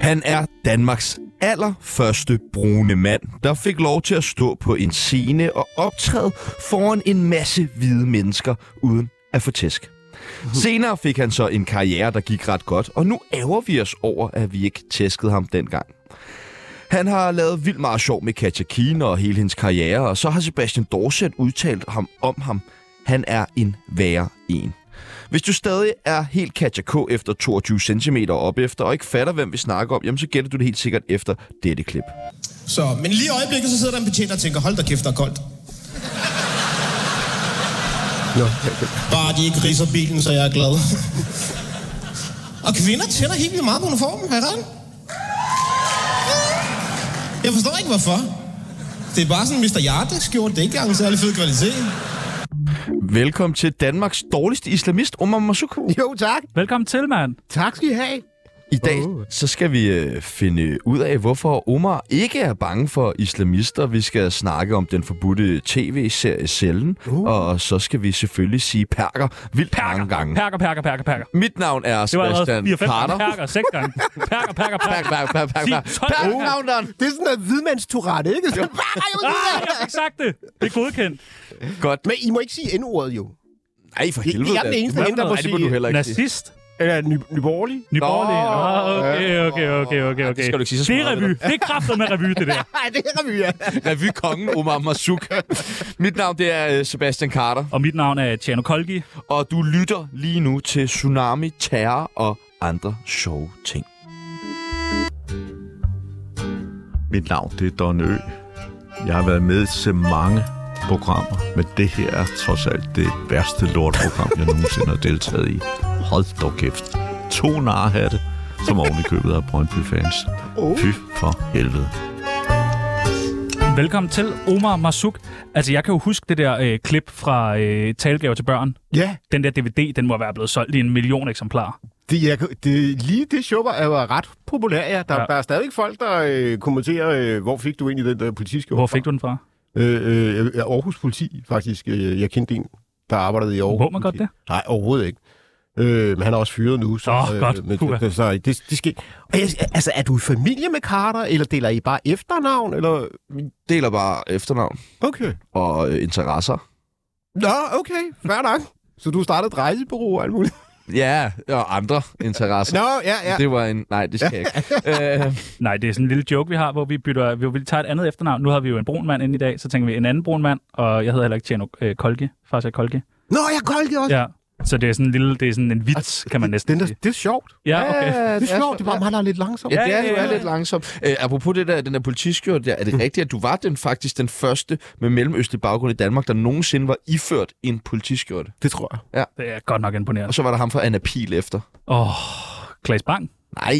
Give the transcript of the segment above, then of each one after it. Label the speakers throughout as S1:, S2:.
S1: Han er Danmarks allerførste brune mand, der fik lov til at stå på en scene og optræde foran en masse hvide mennesker uden at få tæsk. Senere fik han så en karriere, der gik ret godt, og nu ærger vi os over, at vi ikke tæskede ham dengang. Han har lavet vildt meget sjov med Katja Kine og hele hendes karriere, og så har Sebastian Dorset udtalt ham om ham. Han er en værre en. Hvis du stadig er helt Katja K efter 22 cm op efter, og ikke fatter, hvem vi snakker om, jamen så gætter du det helt sikkert efter dette klip.
S2: Så, men lige i øjeblikket, så sidder der en betjent og tænker, hold da kæft, der er koldt.
S3: Nå,
S2: Bare de ikke riser bilen, så jeg er glad. og kvinder tænder helt vildt meget på uniformen, har I ret? Jeg forstår ikke, hvorfor. Det er bare sådan en Mr. Jarte skjort. Det er ikke engang en særlig fed kvalitet.
S1: Velkommen til Danmarks dårligste islamist, Omar Masuku.
S3: jo, tak.
S4: Velkommen til, mand.
S3: Tak skal I have.
S1: I dag
S3: Åh.
S1: så skal vi øh, finde ud af, hvorfor Omar ikke er bange for islamister. Vi skal snakke om den forbudte tv-serie Cellen, og så skal vi selvfølgelig sige perker vildt Uh. perker. mange gange.
S4: Perker, perker, perker, perker.
S1: Mit navn er
S4: Det var allerede
S1: Sebastian
S4: 4-5 gange.
S1: Carter.
S4: Perker, 6 gange. Perker, perker,
S1: Perk,
S4: perker.
S1: perk, perk, perk, perk.
S4: Sig tolv gange.
S1: Perk-counteren.
S3: Det er sådan noget hvidmandstourette, ikke? Så-
S4: Ah, jeg har ikke sagt det. Det er godkendt.
S1: Godt.
S3: Men I må ikke sige N-ordet, jo.
S1: Nej, for
S3: Jeg-
S1: helvede.
S3: jeg er den
S1: da.
S3: eneste, der ændrer på
S1: Nej, det må
S3: sige
S1: du heller ikke sige.
S4: Nazist.
S3: Eller ny- nyborgerlig.
S4: Nyborgerlig.
S1: Nå.
S4: Ah, okay, okay, okay, okay, okay.
S1: det skal du ikke sige, så
S4: Det er
S1: smadrer det
S4: revy. Det er kræfter med revy, det der.
S3: Nej, det er vi, ja.
S1: Revykongen Omar Masuk. Mit navn det er øh, Sebastian Carter,
S4: Og mit navn er Tjano Kolgi.
S1: og du lytter lige nu til Tsunami, Terror og andre sjove ting.
S5: Mit navn det er Don Ø. Jeg har været med til mange programmer, men det her er trods alt det værste lortprogram, jeg nogensinde har deltaget i. Hold dog kæft. To narhatte, som oven i købet af Brøndby-fans. Fy for helvede.
S4: Velkommen til, Omar Masuk. Altså, jeg kan jo huske det der øh, klip fra øh, Talgave til børn.
S3: Ja,
S4: Den der DVD, den må være blevet solgt i en million eksemplarer.
S3: det, jeg, kan- det, lige det show var, er jo ret populært, ja. Der,
S4: Ja.
S3: ja. der er stadigvæk folk, der øh, kommenterer, øh, hvor fik du egentlig den der politiske
S4: Hvor fik du den fra?
S3: Øh, øh, Aarhus Politi, faktisk. Øh, Jeg kendte en, der arbejdede i Aarhus
S4: Må man godt
S3: Politi.
S4: det?
S3: Nej, overhovedet ikke. Øh, men han er også fyret nu. Så, øh,
S4: Åh, godt.
S3: Men,
S4: Puha.
S3: så, så det, det sker. Og jeg, altså, er du i familie med Carter, eller deler I bare efternavn? Eller?
S1: Deler bare efternavn
S3: Okay.
S1: og øh, interesser.
S3: Nå, okay. Fair nok. Så du startede et rejsebureau og alt muligt?
S1: Ja, og andre interesser.
S3: Nå, ja, ja.
S1: Det var en... Nej, det skal jeg ikke. Øh,
S4: Nej, det er sådan en lille joke, vi har, hvor vi bytter, hvor vi tager et andet efternavn. Nu har vi jo en brun mand inde i dag, så tænker vi en anden brun mand, og jeg hedder heller ikke Tjerno øh, Kolke, faktisk er jeg Kolke.
S3: Nå, jeg kolkede også. Ja.
S4: Ja. Så det er sådan en lille, det er sådan en vits, kan man næsten
S3: Den der,
S4: sige.
S3: det er sjovt.
S4: Ja, okay.
S1: Ja,
S3: Det er sjovt,
S1: så-
S3: det er bare mig, der er lidt Mm. langsom.
S1: Ja,
S4: Ja,
S1: det
S4: ja,
S1: er, det
S4: ja,
S1: er
S4: ja.
S1: lidt langsomt. Øh, apropos det der, den der politiskjort der, er det rigtigt, at du var den faktisk den første med mellemøstlig baggrund i Danmark, der nogensinde var iført en politiskjorte?
S3: Det tror jeg.
S4: Det er godt nok
S1: Og
S4: imponerende.
S1: så var der ham fra Anna Pil efter.
S4: Åh, oh, Klaas Bang.
S1: Nej,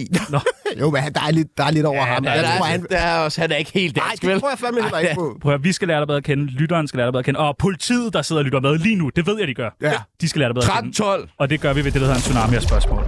S3: Jo, men han- der er lidt, der er lidt over ham.
S4: der er
S3: Jeg
S1: der,
S3: tror,
S1: er,
S3: han...
S1: der er også, han er ikke helt
S3: Nej,
S1: dansk,
S3: det
S1: vel?
S3: tror jeg fandme heller ikke på.
S4: Prøv at, høre, vi skal lære dig bedre at kende, lytteren skal lære dig bedre at kende, og politiet, der sidder og lytter med lige nu, det ved jeg, de gør.
S3: Ja.
S4: De skal lære dig bedre at kende.
S1: 13-12.
S4: Og det gør vi ved det, der hedder en tsunami af spørgsmål.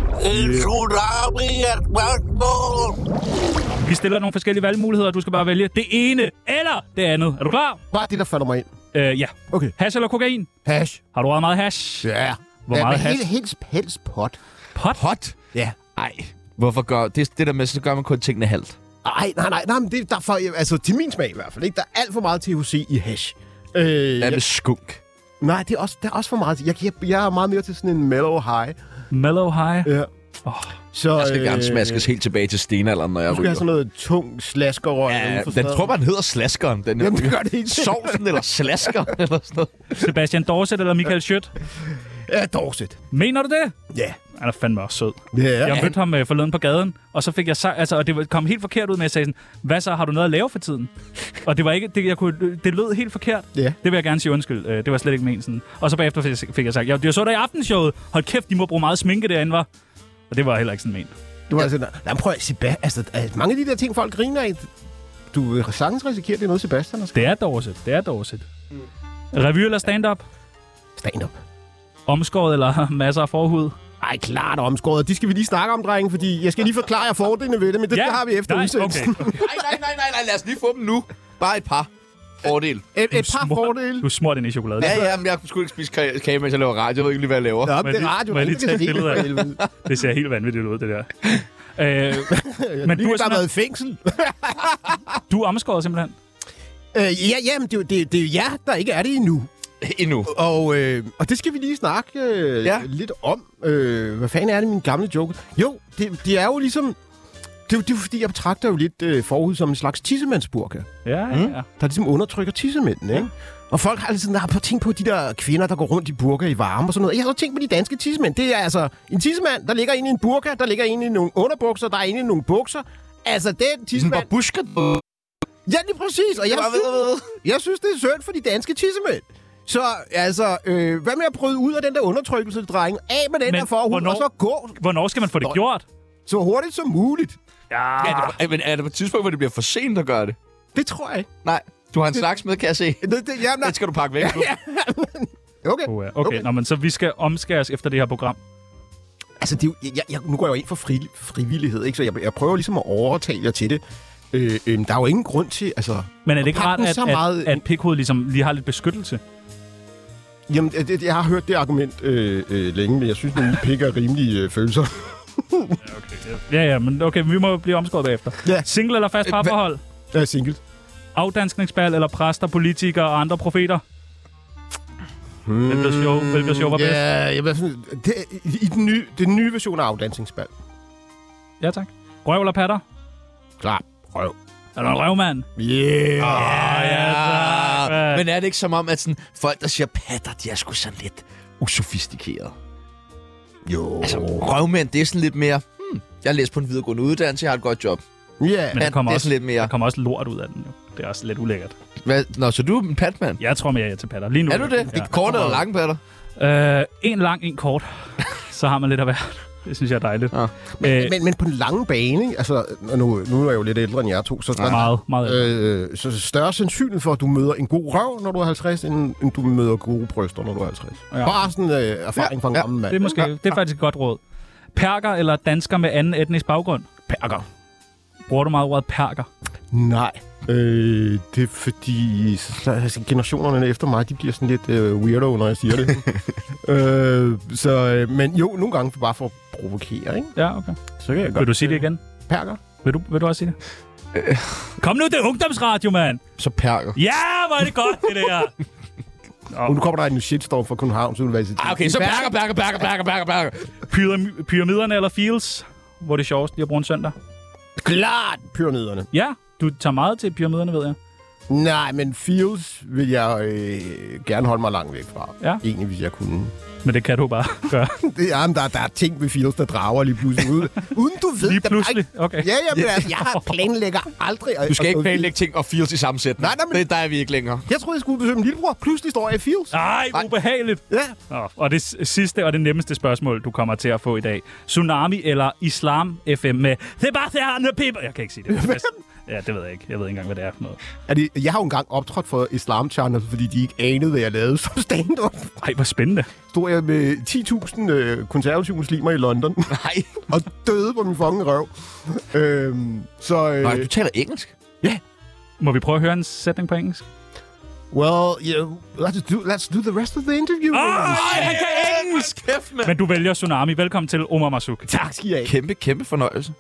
S4: Vi stiller nogle forskellige valgmuligheder, og du skal bare vælge det ene eller det andet. Er du klar?
S3: Bare det, der falder mig ind.
S4: Øh, ja.
S3: Okay.
S4: Hash eller kokain?
S3: Hash.
S4: Har du røget meget hash?
S3: Ja.
S4: Hvor meget
S3: has?
S4: hash?
S3: Helt, helt pelspot.
S4: Pot?
S1: Hot?
S3: Ja.
S1: Nej. Hvorfor gør... Det, det der med, så gør man kun tingene halvt.
S3: Nej, nej, nej, nej, men det er derfor, altså til min smag i hvert fald, ikke? der er alt for meget THC i hash. Øh,
S1: Hvad
S3: jeg,
S1: med skunk?
S3: nej, det er også, der er også for meget. Jeg, jeg, jeg er meget mere til sådan en mellow high.
S4: Mellow high?
S3: Ja.
S4: Åh.
S3: Så,
S1: Jeg skal gerne smaskes helt tilbage til stenalderen, når
S3: Øh. Du
S1: jeg
S3: skal have
S1: ryger.
S3: sådan noget tung slaskerøg.
S1: Ja,
S3: uden for
S1: den
S3: staden.
S1: tror man hedder slaskeren, den her.
S3: Jamen, det
S1: ryger.
S3: gør det ikke.
S1: Sovsen eller slaskeren eller sådan noget.
S4: Sebastian Dorset eller Michael Schødt?
S3: Ja, Dorset.
S4: Mener du det?
S3: Ja.
S4: Han er fandme også sød.
S3: Ja,
S4: Jeg mødte ham øh, forleden på gaden, og så fik jeg sagt, altså, og det var- kom helt forkert ud med, at jeg sagde sådan, hvad så, har du noget at lave for tiden? og det var ikke, det, jeg kunne, det lød helt forkert.
S3: Ja.
S4: Det vil jeg gerne sige undskyld, øh, det var slet ikke meningen. sådan. Og så bagefter fik jeg- fik jeg sagt, jeg, jeg så dig i aftenshowet, hold kæft, de må bruge meget sminke derinde, var. Og det var heller ikke sådan ment.
S3: Du var sådan, nej, men prøv at Seba- altså, altså, mange af de der ting, folk griner af, du vil sagtens risikere, det er noget, Sebastian har skrevet.
S4: Det er Dorset, det er Dorset. Mm. Revy eller stand-up?
S3: Stand up.
S4: Omskåret eller masser af forhud?
S3: Ej, klart omskåret. De skal vi lige snakke om, drenge, fordi jeg skal lige forklare jer fordelene ved det, men det, ja. det har vi efter
S4: nej,
S3: udsendelsen.
S4: okay, okay.
S1: Nej, nej, nej, nej, nej, lad os lige få dem nu. Bare et par. Fordel. Altså-
S3: Et, et par
S4: smurt-
S3: fordele.
S4: Du er smurt ind i chokolade.
S1: Ja, ja, men jeg skulle ikke spise ka- kage, mens jeg laver radio. Jeg ved ikke lige, hvad jeg laver.
S3: Nå,
S4: Må
S3: det
S4: jeg
S3: er
S4: lige-
S3: radio.
S4: må jeg
S3: der
S4: lige
S3: ikke
S4: tage
S3: kan
S4: et
S3: se
S4: billede af
S3: det for helvede.
S4: Det ser helt vanvittigt ud, det der. Øh,
S3: Men
S4: men
S3: du
S4: du
S3: har
S4: er,
S3: bare været
S4: simpelthen,
S3: i fængsel.
S4: du er omskåret simpelthen.
S3: øh, ja, jamen, det, er jo- det, det er jo jer, der ikke er det endnu.
S6: Endnu.
S3: Og, øh, og det skal vi lige snakke øh,
S6: Ja.
S3: ja. lidt om. Øh, hvad fanden er det, min gamle joke? Jo, det, det er jo ligesom... Det er jo, det er jo fordi, jeg betragter jo lidt øh, forud som en slags tissemandsburka,
S4: Ja, ja, ja.
S3: der ligesom undertrykker tissemændene, ikke? Og folk har altid der har tænkt på de der kvinder, der går rundt i burka i varme og sådan noget. Jeg har tænkt på de danske tissemænd. Det er altså en tissemand, der ligger inde i en burka, der ligger inde i nogle underbukser, der er inde i nogle bukser. Altså, den
S6: Sådan
S3: tissemand...
S6: bare busker.
S3: Ja, lige præcis. Og jeg
S6: bare
S3: synes, jeg synes, det er synd for de danske tissemænd. Så altså, øh, hvad med at bryde ud af den der undertrykkelse, drenge? Af med den
S4: Men
S3: der forhud,
S4: hvornår-
S3: og så gå
S4: Hvornår skal man få det
S3: Nå.
S4: gjort?
S3: så hurtigt som muligt.
S4: Ja,
S6: Er
S1: Ah.
S6: det, men er det på et tidspunkt, hvor det bliver for sent at gøre det?
S3: Det tror jeg ikke.
S6: Nej. Du har en slags med, kan jeg se.
S3: Det, det, jamen,
S6: Den skal du pakke væk nu.
S3: okay.
S4: Oh, ja. Okay, okay.
S3: Okay.
S4: Nå, men så vi skal omskæres efter det her program.
S3: Altså, det, er jo- jeg, jeg, nu går jeg jo ind for fri, frivillighed, ikke? så jeg, jeg prøver ligesom at overtale jer til det. Øh, øh, der er jo ingen grund til, altså...
S4: Men er det ikke
S3: Pak
S4: rart,
S3: den
S4: at,
S3: så meget
S4: at, at pikhoved ligesom lige har lidt beskyttelse?
S3: Jamen, det, det- jeg har hørt det argument øh, øh, længe, men jeg synes, at pik er rimelige øh, følelser.
S4: Ja, ja, men okay, vi må blive omskåret bagefter.
S3: Ja.
S4: Single eller fast parforhold?
S3: Jeg er single.
S4: Afdanskningsbal eller præster, politikere og andre profeter? Hmm. Hvilket show, hvilket show var bedst?
S3: Ja, jeg, vil sådan- det, i den nye, den nye version af afdansingsspand.
S4: Ja, tak. Røv eller patter?
S3: Klar. Røv.
S4: Er du en røvmand?
S3: Yeah.
S6: Ah,
S4: tak.
S6: Men er det ikke som om, at sådan, folk, der siger patter, de er sgu sådan lidt usofistikerede?
S3: Jo.
S6: Altså, røvmænd, det er sådan lidt mere... Hmm, jeg læser på en videregående uddannelse, jeg har et godt job.
S3: Ja.
S4: Men der
S6: Pat,
S4: kommer,
S6: det er
S4: også,
S6: lidt mere-
S4: der kommer også lort ud af den. Jo. Det er også lidt ulækkert.
S6: Hvad? Nå, så du er en patmand?
S4: Jeg tror mere, jeg er til patter. Lige nu.
S6: Er du det? Det er korte eller lange patter?
S4: Ja. Øh, en lang, en kort. så har man lidt af hvert. Det synes jeg er dejligt.
S6: Ja.
S4: Øh,
S3: Men, men på den lange bane, ikke? altså nu, nu er jeg jo lidt ældre end jer to, så, der,
S4: meget, meget. Øh.
S3: øh, så større sandsynlighed for, at du møder en god røv, når du er 50, end, end du møder gode bryster, når du er 50.
S4: Ja.
S3: Ja. Bare sådan øh, erfaring
S6: Ja,
S3: ja. fra en
S6: ja. Ah,
S3: gammel mand.
S4: Det er, måske, det er faktisk et godt råd. Perker eller dansker med anden etnisk baggrund?
S3: perker.
S4: Bruger du meget ordet perker?
S3: Nej. Øh, det er fordi så, altså, generationerne efter mig, de bliver sådan lidt øh, weirdo, når jeg siger det. øh, så, øh, men jo, nogle gange for bare for at provokere, ikke?
S4: Ja, okay.
S3: Så kan jeg
S4: Vil du sige det igen?
S3: Perker.
S4: Vil du, vil du også sige det?
S6: Øh.
S4: Kom nu, det er ungdomsradio, mand!
S6: Så perker.
S4: Ja, hvor er det godt, det der!
S3: Og nu kommer der en shitstorm fra Københavns Universitet.
S6: Ah, okay, så perker, perker, perker, perker, perker, perker.
S4: Pyram- pyramiderne eller fields? Hvor er det sjovest lige at bruge en søndag?
S3: Klart pyramiderne.
S4: Ja, du tager meget til pyramiderne, ved jeg.
S3: Nej, men Fields vil jeg øh, gerne holde mig langt væk fra.
S4: Ja.
S3: Egentlig, hvis jeg kunne.
S4: Men det kan du bare gøre.
S3: Det er, men der, der er ting ved Fields, der drager lige pludselig ud. Uden du ved
S4: Lige
S3: det. Der er
S4: pludselig?
S3: ikke-
S4: Okay.
S3: Ja, ja, men altså, jeg planlægger aldrig. at-
S6: Du skal
S3: at-
S6: ikke planlægge ting og feels i sammensætning.
S3: Nej, nej, men-
S6: Det der er vi ikke længere.
S3: Jeg troede, jeg skulle besøge min lillebror. Pludselig står jeg i Fields.
S4: Ej, ubehageligt!
S3: Ja.
S4: Nå, og det s- sidste og det nemmeste spørgsmål, du kommer til at få i dag. Tsunami eller Islam FM med Sebastian Piper? Jeg kan ikke sige det. Ja, det ved jeg ikke. Jeg ved ikke engang, hvad det er for noget.
S3: Er det, jeg har jo engang optrådt for Islam Channel, fordi de ikke anede, hvad jeg lavede som stand-up.
S4: Ej, hvor spændende.
S3: Stod jeg med 10.000 øh, konservative muslimer i London
S6: Nej.
S3: og døde på min fucking røv. øhm, så... Øh,
S6: Nej, du taler engelsk.
S4: Må vi prøve at høre en sætning på engelsk?
S3: Well, yeah, let's do let's do the rest of the interview.
S4: Ah!
S6: Nej, han kan engelsk! Kæft, mand.
S4: Men du vælger Tsunami. Velkommen til Omar Masuk.
S3: Tak skal I have.
S6: Kæmpe, kæmpe fornøjelse.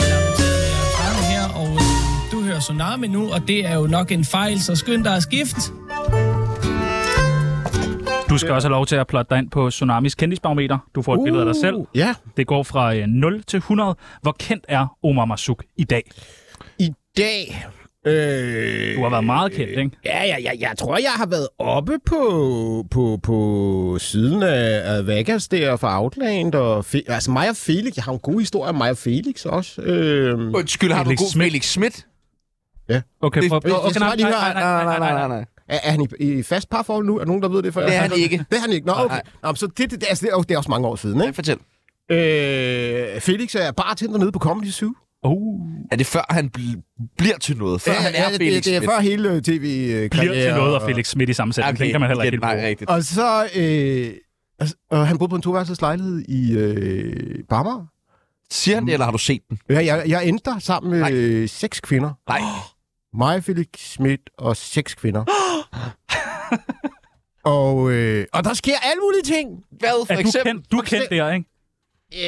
S7: Jeg er Frane her, og øh, du hører Tsunami nu, og det er jo nok en fejl, så skynd dig at skifte.
S4: Du skal også have lov til at plotte dig ind på Tsunamis kendisbarometer. Du får et uh. billede af dig selv.
S3: Ja.
S4: Det går fra øh, 0 til 100. Hvor kendt er Omar Masuk i dag?
S3: I dag... Øh,
S4: Du har været meget kendt, ikke?
S3: Ja, ja, ja, jeg tror, jeg har været oppe på, på, på siden af, af Vegas der for Outland. Og Fe, altså mig og Felix, jeg har en god historie om mig og Felix også. Øh,
S6: Undskyld, har du
S4: Felix
S6: god
S4: Schmidt.
S6: Felix Schmidt?
S4: Okay,
S6: Det-
S4: prøv, prøv,
S3: jeg
S4: okay,
S3: skal
S4: nej,
S3: bare lige
S4: nej,
S3: høre-
S4: nej, nej, nej, nej, nej.
S6: nej.
S3: er, er han i, i fast parforhold nu? Er der nogen, der ved det? For
S6: Det er han ikke.
S3: Det er han ikke. Nå, okay.
S6: nej.
S3: Nå, men så det, det, det, altså, det, er, jo- det er også mange år siden,
S6: Ja,
S3: ikke?
S6: fortæl.
S3: Øh, Felix er bartender nede på Comedy Zoo.
S4: Oh.
S6: Er det før, han bl- bliver til noget? Før han er
S3: det,
S6: Felix
S3: det, det er
S6: Schmidt?
S3: før hele øh, tv-karrieren.
S4: Bliver til noget af Felix Schmidt i sammensætning. Okay, den kan man heller ikke helt
S6: Nej,
S4: bruge.
S6: rigtigt.
S3: Og så... Øh, altså, og han boede på en toværelses lejlighed i øh, Barmer.
S6: Siger han det, eller har du set den?
S3: Ja, jeg, jeg endte der sammen med
S6: Nej.
S3: øh, seks kvinder.
S6: Nej.
S3: Mig, Felix Schmidt og seks kvinder. Og, øh, og der sker alle mulige ting.
S6: Hvad for
S4: Er du,
S6: eksempel?
S4: kendt, du er kendt der, ikke?
S3: Øh,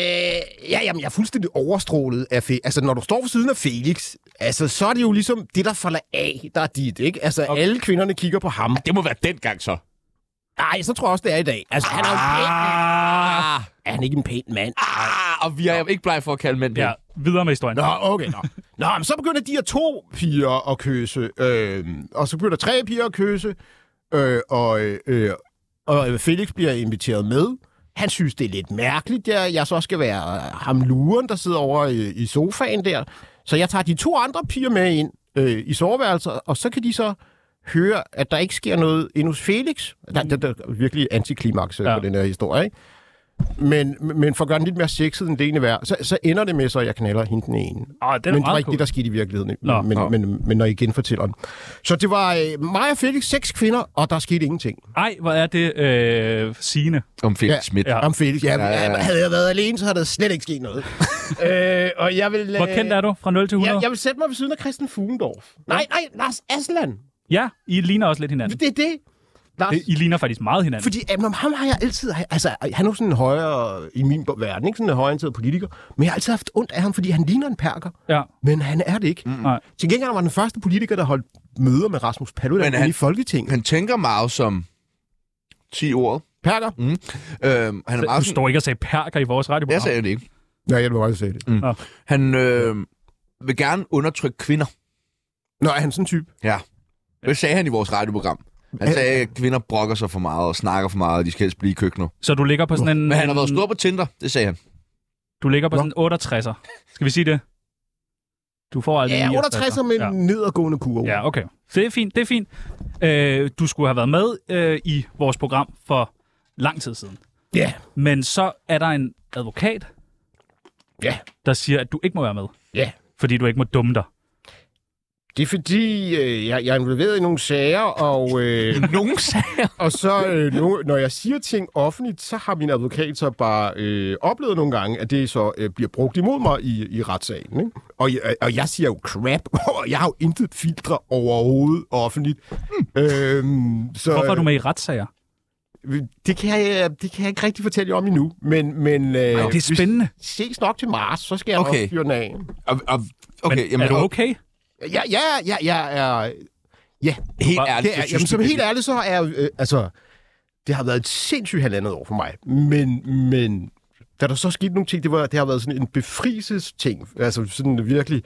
S3: ja, jamen, jeg er fuldstændig overstrålet af Fe- Altså, når du står ved siden af Felix, altså, så er det jo ligesom det, der falder af, der er dit, ikke? Altså, okay. alle kvinderne kigger på ham.
S1: Det må være dengang så.
S3: Nej, så tror jeg også, det er i dag. Altså, han er jo en pæn mand.
S1: Ah,
S3: Er han ikke en pæn mand?
S1: ah, og vi er ikke blege for at kalde mænd det.
S4: Ja, videre med historien.
S3: Nå, okay, nå. Nå, men så begynder de her to piger at kysse, øh, og så begynder tre piger at kysse, øh, og, øh, øh, og Felix bliver inviteret med. Han synes, det er lidt mærkeligt, jeg, jeg så skal være øh, ham luren, der sidder over i, i sofaen der. Så jeg tager de to andre piger med ind øh, i soveværelset, og så kan de så høre, at der ikke sker noget endnu hos Felix. Der, der, der er virkelig antiklimaks ja.
S4: Ja.
S3: på den her historie, ikke? Men, men for at gøre den lidt mere sexet, end det egentlig er, så, så ender det med, så jeg knaller hende den ene.
S4: Åh, Ah, den er
S3: men det var
S4: meget
S3: ikke
S4: cool.
S3: det, der skete i virkeligheden,
S4: Nå.
S3: men, men, men, men når I genfortæller den. Så det var øh, mig og Felix, seks kvinder, og der skete ingenting.
S4: Ej, hvor er det øh, sigende.
S6: Om Felix
S3: Ja.
S6: Schmidt.
S4: Ja.
S3: Om Felix, ja, ja, havde jeg været alene, så havde der slet ikke sket noget. øh, og jeg vil, øh,
S4: Hvor kendt er du? Fra 0 til 100?
S3: Jeg, jeg vil sætte mig ved siden af Christian Fugendorf. Nej, nej, Lars Aslan.
S4: Ja, I ligner også lidt hinanden.
S3: Det er det. Lars,
S4: I ligner faktisk meget hinanden.
S3: Fordi jamen, om ham har jeg altid... Altså, han er jo sådan en højere i min verden, ikke? Sådan en højorienteret politiker. Men jeg har altid haft ondt af ham, fordi han ligner en perker.
S4: Ja.
S3: Men han er det ikke. Mm.
S4: Nej.
S3: Til gengæld var han den første politiker, der holdt møder med Rasmus Paludan
S6: Men
S3: han...
S6: han-
S3: i Folketinget.
S6: Han tænker meget som 10 ord.
S3: Perker?
S6: Mm. Øhm, han er meget sådan,
S4: Du står ikke og sagde perker i vores radioprogram.
S6: jeg sagde det ikke.
S3: Ja, jeg vil også sige det.
S6: Han øh, vil gerne undertrykke kvinder.
S3: Nå, er han sådan en type?
S6: Ja. Det sagde han i vores radioprogram. Han sagde, at kvinder brokker sig for meget og snakker for meget, og de skal helst blive i køkkenet.
S4: Så du ligger på sådan en...
S6: Men han har været stor på Tinder, det sagde han.
S4: Du ligger på
S3: Nå.
S4: sådan en 68'er. Skal vi sige det? Du får aldrig
S3: Ja, 68
S4: 69'er.
S3: med
S4: ja.
S3: en nedadgående kurve.
S4: ja, okay. Det er fint, det er fint. Øh, du skulle have været med øh, i vores program for lang tid siden.
S3: Ja.
S4: Men så er der en advokat,
S3: Ja.
S4: der siger, at du ikke må være med.
S3: Ja.
S4: Fordi du ikke må dumme dig.
S3: Det er fordi, øh, jeg, jeg er involveret i nogle sager, og, øh,
S6: Nogen sager.
S3: og så øh, nu, når jeg siger ting offentligt, så har min advokat så bare øh, oplevet nogle gange, at det så øh, bliver brugt imod mig i, i retssagen. Ikke? Og, jeg- og jeg siger jo crap, og jeg har jo intet filtre overhovedet offentligt. Øhm, så,
S4: Hvorfor er du med i retssager?
S3: Øh, Det kan, jeg, det kan jeg ikke rigtig fortælle jer om endnu, men, men øh,
S4: Øh, det er spændende.
S3: hvis vi ses nok til Mars, så skal jeg okay.
S6: Okay.
S3: nok fyre den af.
S6: Og, og, okay,
S4: Men
S6: jamen,
S4: er du
S6: og-
S4: okay?
S3: Ja, ja, ja, jeg er... Ja, altså,
S6: Helt
S4: bare-
S6: ærligt,
S3: det er,
S6: jeg
S3: jamen,
S6: synes,
S3: som
S6: det
S3: helt ærligt, så er jeg, øh, altså, det har været et sindssygt halvandet år for mig, men, men da der så skete nogle ting, det, var, det har været sådan en befrielsesting, altså sådan virkelig,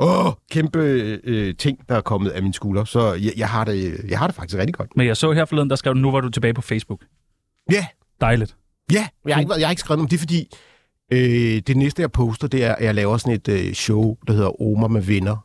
S3: åh, kæmpe øh, ting, der er kommet af min skulder, så jeg, jeg, har det, jeg har det faktisk rigtig godt.
S4: Men jeg så her forleden, der skrev du, nu var du tilbage på Facebook.
S3: Ja, yeah.
S4: Dejligt.
S3: Ja, jeg har ikke, været- jeg har ikke skrevet om det, er fordi øh, det næste, jeg poster, det er, at jeg laver sådan et øh, show, der hedder Omer med venner.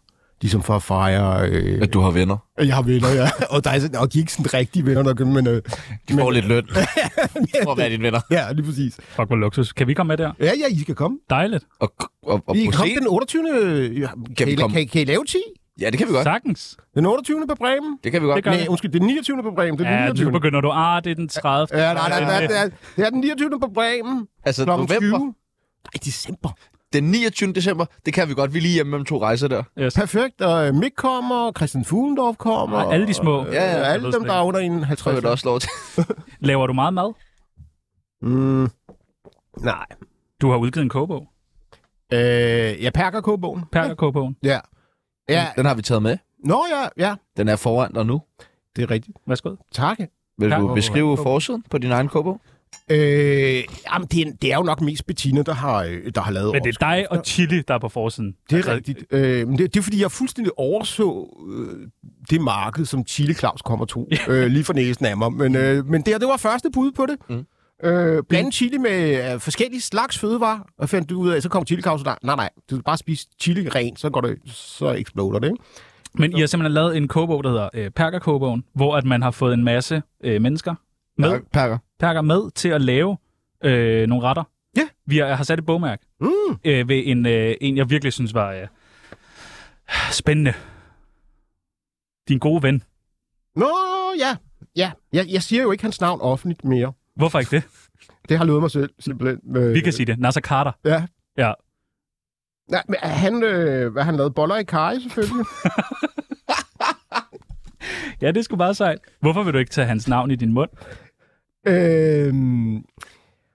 S3: Ligesom for at fejre... Øh,
S6: at du har venner.
S3: jeg har venner, ja. Og, der er sådan, og de er ikke sådan rigtige venner, nok, men... Øh,
S6: De får lidt løn for at være dine venner.
S3: ja, lige præcis.
S4: Fuck, hvor luksus. Kan vi komme med der?
S3: Ja, ja, I skal komme.
S4: Dejligt.
S6: Og, og, og
S3: I kan
S6: på
S3: komme
S6: scenen-
S3: den 28. Ja, kan,
S6: vi
S3: I,
S6: komme?
S3: Kan, I- kan I lave 10?
S6: Ja, det kan vi godt.
S4: Sagtens.
S3: Den 28. på Bremen?
S6: Det kan vi godt.
S4: Det gør
S3: Nej, undskyld, den 29. på Bremen. Det er den
S4: Ja,
S3: 29.
S4: nu begynder du, ah, det er den 30.
S3: Ja, nej, nej, nej, det er, det er den 29. på Bremen.
S6: Altså,
S3: Klokken
S6: november,
S3: 20. Nej, december.
S6: den 29. december, det kan vi godt. Vi er lige hjemme mellem to rejser der.
S4: Yes.
S3: Perfekt, og øh, Mick kommer, Christian Fuglendorf kommer. øh,
S4: Og alle de små.
S6: Ja, ja,
S3: Ja,
S4: Jeg
S3: alle
S4: ved
S3: dem,
S4: slet
S3: der er under en
S6: Tror jeg,
S3: 50.
S6: der også lov til.
S4: ikke. Laver du meget mad?
S3: Mm. Nej.
S4: Du har udgivet en kogebog.
S3: Øh, jeg perker K-bogen.
S4: Perker kogebogen.
S3: Ja. Ja.
S6: Den har vi taget med.
S3: Nå ja, ja.
S6: Den er foran dig nu.
S3: Det er rigtigt.
S4: Værsgo.
S3: Tak.
S6: Vil
S4: Ja.
S6: du
S4: Åh,
S6: beskrive forsiden på din egen kobog?
S3: Øh, jamen, det er, det er jo nok mest Bettina, der har, øh, der har lavet
S4: Men det er dig og Chili, der er på forsiden.
S3: Det er rigtigt. Øh, men det, det er, fordi jeg fuldstændig overså øh, det marked, som Chile Claus kommer to øh, lige for næsen af mig. Men, øh, men det, her, det var første bud på det. Mm. Øh, blande chili med øh, forskellige slags fødevarer, og fandt du ud af, så kom Chile Claus, og nej, nej, nej, du skal bare spise chili rent, så, går det, så eksploder det, ikke?
S4: Men I har simpelthen lavet en kogebog, der hedder øh, Perker-kogebogen, hvor at man har fået en masse øh, mennesker med, ja.
S6: Pakker.
S4: Perker med til at lave øh, nogle retter.
S3: Ja.
S4: Vi har, har sat et bogmærke
S3: Mm.
S4: øh, ved en, øh, en, jeg virkelig synes var øh, spændende. Din gode ven.
S3: Nå, ja. Ja, jeg, jeg siger jo ikke hans navn offentligt mere.
S4: Hvorfor ikke det?
S3: Det har lovet mig selv, simpelthen. Øh,
S4: Vi kan sige det. Nasser Carter.
S3: Ja.
S4: Ja.
S3: Nej, men er han, øh, hvad han lavede boller i kaj, selvfølgelig.
S4: Ja, det er sgu meget sejt. Hvorfor vil du ikke tage hans navn i din mund?
S3: Øhm,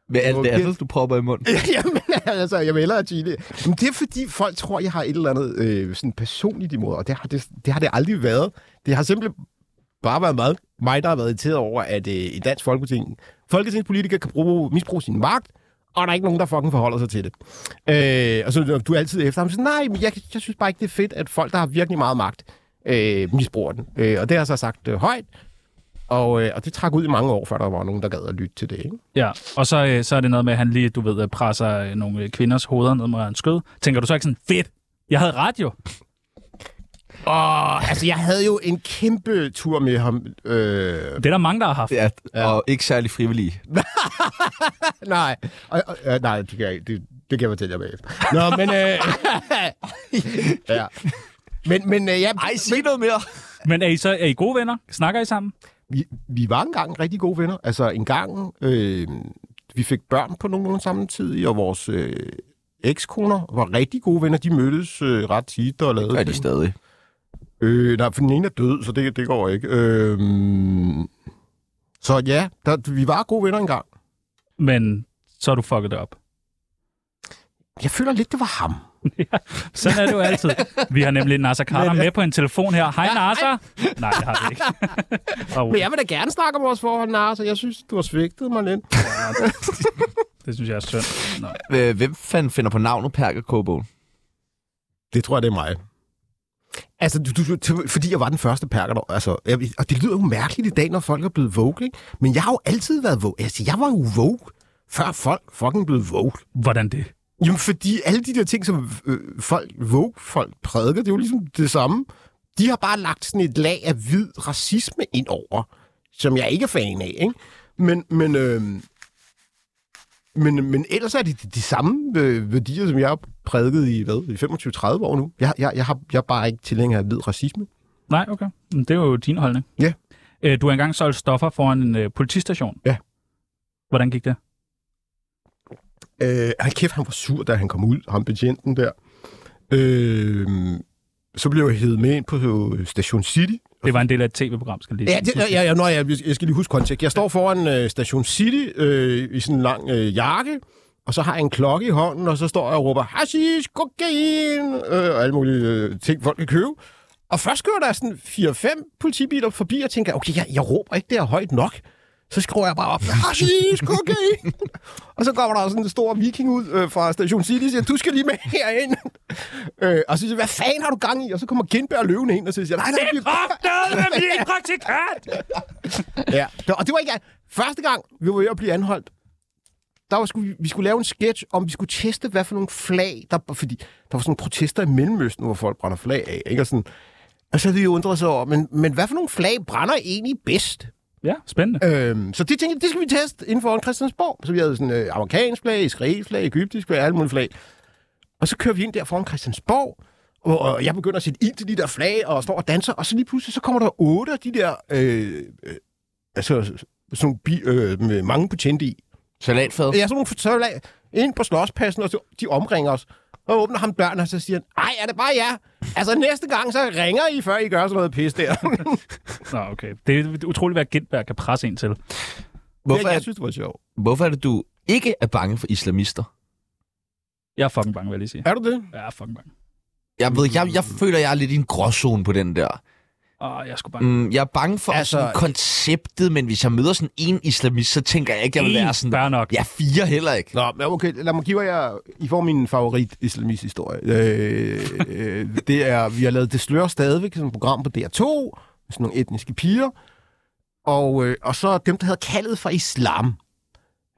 S6: Med alt
S3: Okay.
S6: det andet, du propper i munden.
S3: jamen, altså, jeg melder at Gini. Jamen, det er fordi, folk tror, jeg har et eller andet øh, sådan personligt imod, og det har det, det har det aldrig været. Det har simpelthen bare været meget, mig, der har været irriteret over, at øh, i Dansk Folketing, folketingspolitikere kan bruge, misbruge sin magt, og der er ikke nogen, der fucking forholder sig til det. Øh, og så er du er altid efter ham, så nej, men jeg, jeg synes bare ikke, det er fedt, at folk, der har virkelig meget magt, øh, misbruger den. Øh, og det har jeg så sagt øh, højt, og, øh, og det trak ud i mange år, før der var nogen, der gad at lytte til det. Ikke?
S4: Ja, og så, øh, så er det noget med, at han lige, du ved, presser øh, nogle øh, kvinders hoveder ned mod hans skød. Tænker du så ikke sådan, fedt, jeg havde ret jo.
S3: Åh, altså, jeg havde jo en kæmpe tur med ham. Øh,
S4: Det er der mange, der har haft.
S6: Ja, og ikke særlig frivillige.
S3: nej, og, og, øh, nej, det kan jeg ikke. Det, det kan jeg fortælle jer bagefter. Nå, men... Øh, ja. Men, men øh, ja,
S6: Ej, sig noget mere!
S4: Men er I så er I gode venner? Snakker I sammen?
S3: vi, vi var engang rigtig gode venner. Altså, en gang... Øh, vi fik børn på nogenlunde samme tid, og vores øh, ekskoner var rigtig gode venner. De mødtes øh, ret tit og lavede...
S6: Er de stadig?
S3: Øh, nej, for den ene er død, så det, det går ikke. Øh, så ja, der, vi var gode venner engang.
S4: Men så har du fucket det op.
S3: Jeg føler lidt, det var ham.
S4: Sådan er det jo altid. Vi har nemlig Nasser Carter med på en telefon her. Hej Nasser! Nej, det har vi ikke. Og,
S3: Men jeg vil da gerne snakke om vores forhold, Nars, og jeg synes, du har svigtet mig lidt.
S4: det synes jeg er synd. Nå.
S6: Øh, Hvem fanden finder på navnet Perker Kobogen?
S3: Det tror jeg, det er mig. Altså, du, du, du, fordi jeg var den første perker, der, altså, jeg, og det lyder jo mærkeligt i dag, når folk er blevet vogue, ikke? men jeg har jo altid været vogue. Altså, jeg var jo vogue, før folk fucking blev vogue.
S4: Hvordan det?
S3: Jamen, fordi alle de der ting, som øh, folk, Vogue-folk prædiker, det er jo ligesom det samme. De har bare lagt sådan et lag af hvid racisme ind over, som jeg ikke er fan af, ikke? Men, men, øh, men, men ellers er det de, de samme øh, værdier, som jeg har prædiket i, hvad, i 25-30 år nu. Jeg, jeg, jeg, har, jeg er bare ikke tilhænger af hvid racisme.
S4: Nej, okay. Men Det er jo din holdning.
S3: Ja.
S4: Øh, Du har engang solgt stoffer foran en øh, politistation.
S3: Ja.
S4: Hvordan gik det?
S3: Øh, han kæft, han var sur, da han kom ud, ham betjenten der. Øh, så blev jeg hævet med ind på øh, Station City,
S4: Det var en del af et tv-program, skal jeg lige
S3: Ja, det, ja, ja, ja, nå, ja, jeg skal lige huske kontekst. Jeg står foran øh, Station City øh, i sådan en lang øh, jakke, og så har jeg en klokke i hånden, og så står jeg og råber, hashish, kokain, øh, og alle mulige øh, ting, folk kan købe. Og først kører der sådan 4-5 politibiler forbi, og tænker, okay, jeg, jeg råber ikke det her højt nok. Så skriver jeg bare op, hashish, kokain. og så kommer der sådan en stor viking ud øh, fra Station City, og siger, du skal lige med herind. øh, og så siger jeg, hvad fanden har du gang i? Og så kommer Kindberg løvende ind, og så siger, nej, nej, vi-
S4: Opdaget med min praktikant!
S3: Ja, det- og det var ikke første gang, vi var ved at blive anholdt. Der var, skulle, vi- vi skulle lave en sketch om, vi skulle teste, hvad for nogle flag, der, fordi der var sådan nogle protester i Mellemøsten, hvor folk brænder flag af, ikke? Og, sådan, og så havde vi jo undret sig over, men, men hvad for nogle flag brænder egentlig bedst?
S4: Ja, spændende.
S3: Øhm, så det tænkte jeg, det skal vi teste inden for Christiansborg. Så vi havde sådan øh, amerikansk flag, israelsk flag, egyptisk flag, alle mulige flag. Og så kører vi ind der foran Christiansborg, og, og jeg begynder at sætte ild til de der flag, og står og danser, og så lige pludselig, så kommer der otte af de der, øh, øh, altså sådan nogle bi, øh, med mange betjente i.
S6: Salatfad.
S3: Jeg er sådan nogle fortøvlag ind på slåspladsen, og så, de omringer os. Og åbner ham døren, og så siger han, ej, er det bare jer? Altså næste gang, så ringer I, før I gør sådan noget pis der.
S4: Nå, okay. Det er utroligt, hvad Gindberg kan presse en til.
S6: Hvorfor er,
S3: jeg synes, det var sjovt.
S6: hvorfor er det, du ikke er bange for islamister?
S4: Jeg er fucking bange, vil jeg lige sige.
S3: Er du det?
S4: Jeg er fucking bange.
S6: Jeg ved, jeg, jeg føler, jeg er lidt i en gråzone på den der.
S4: Åh, jeg er sgu bange.
S6: Mm, jeg er bange for
S3: Altså-
S6: altså, sådan konceptet, men hvis jeg møder sådan en islamist, så tænker jeg ikke, jeg vil være sådan...
S4: Fair nok.
S6: Ja, fire heller ikke.
S3: Nå, men okay, lad mig give jer... I får min favorit islamist historie. Øh, øh, det er, vi har lavet Det slører stadigvæk, som et program på DR2, med sådan nogle etniske piger. Og, øh, og så dem, der havde kaldet for islam.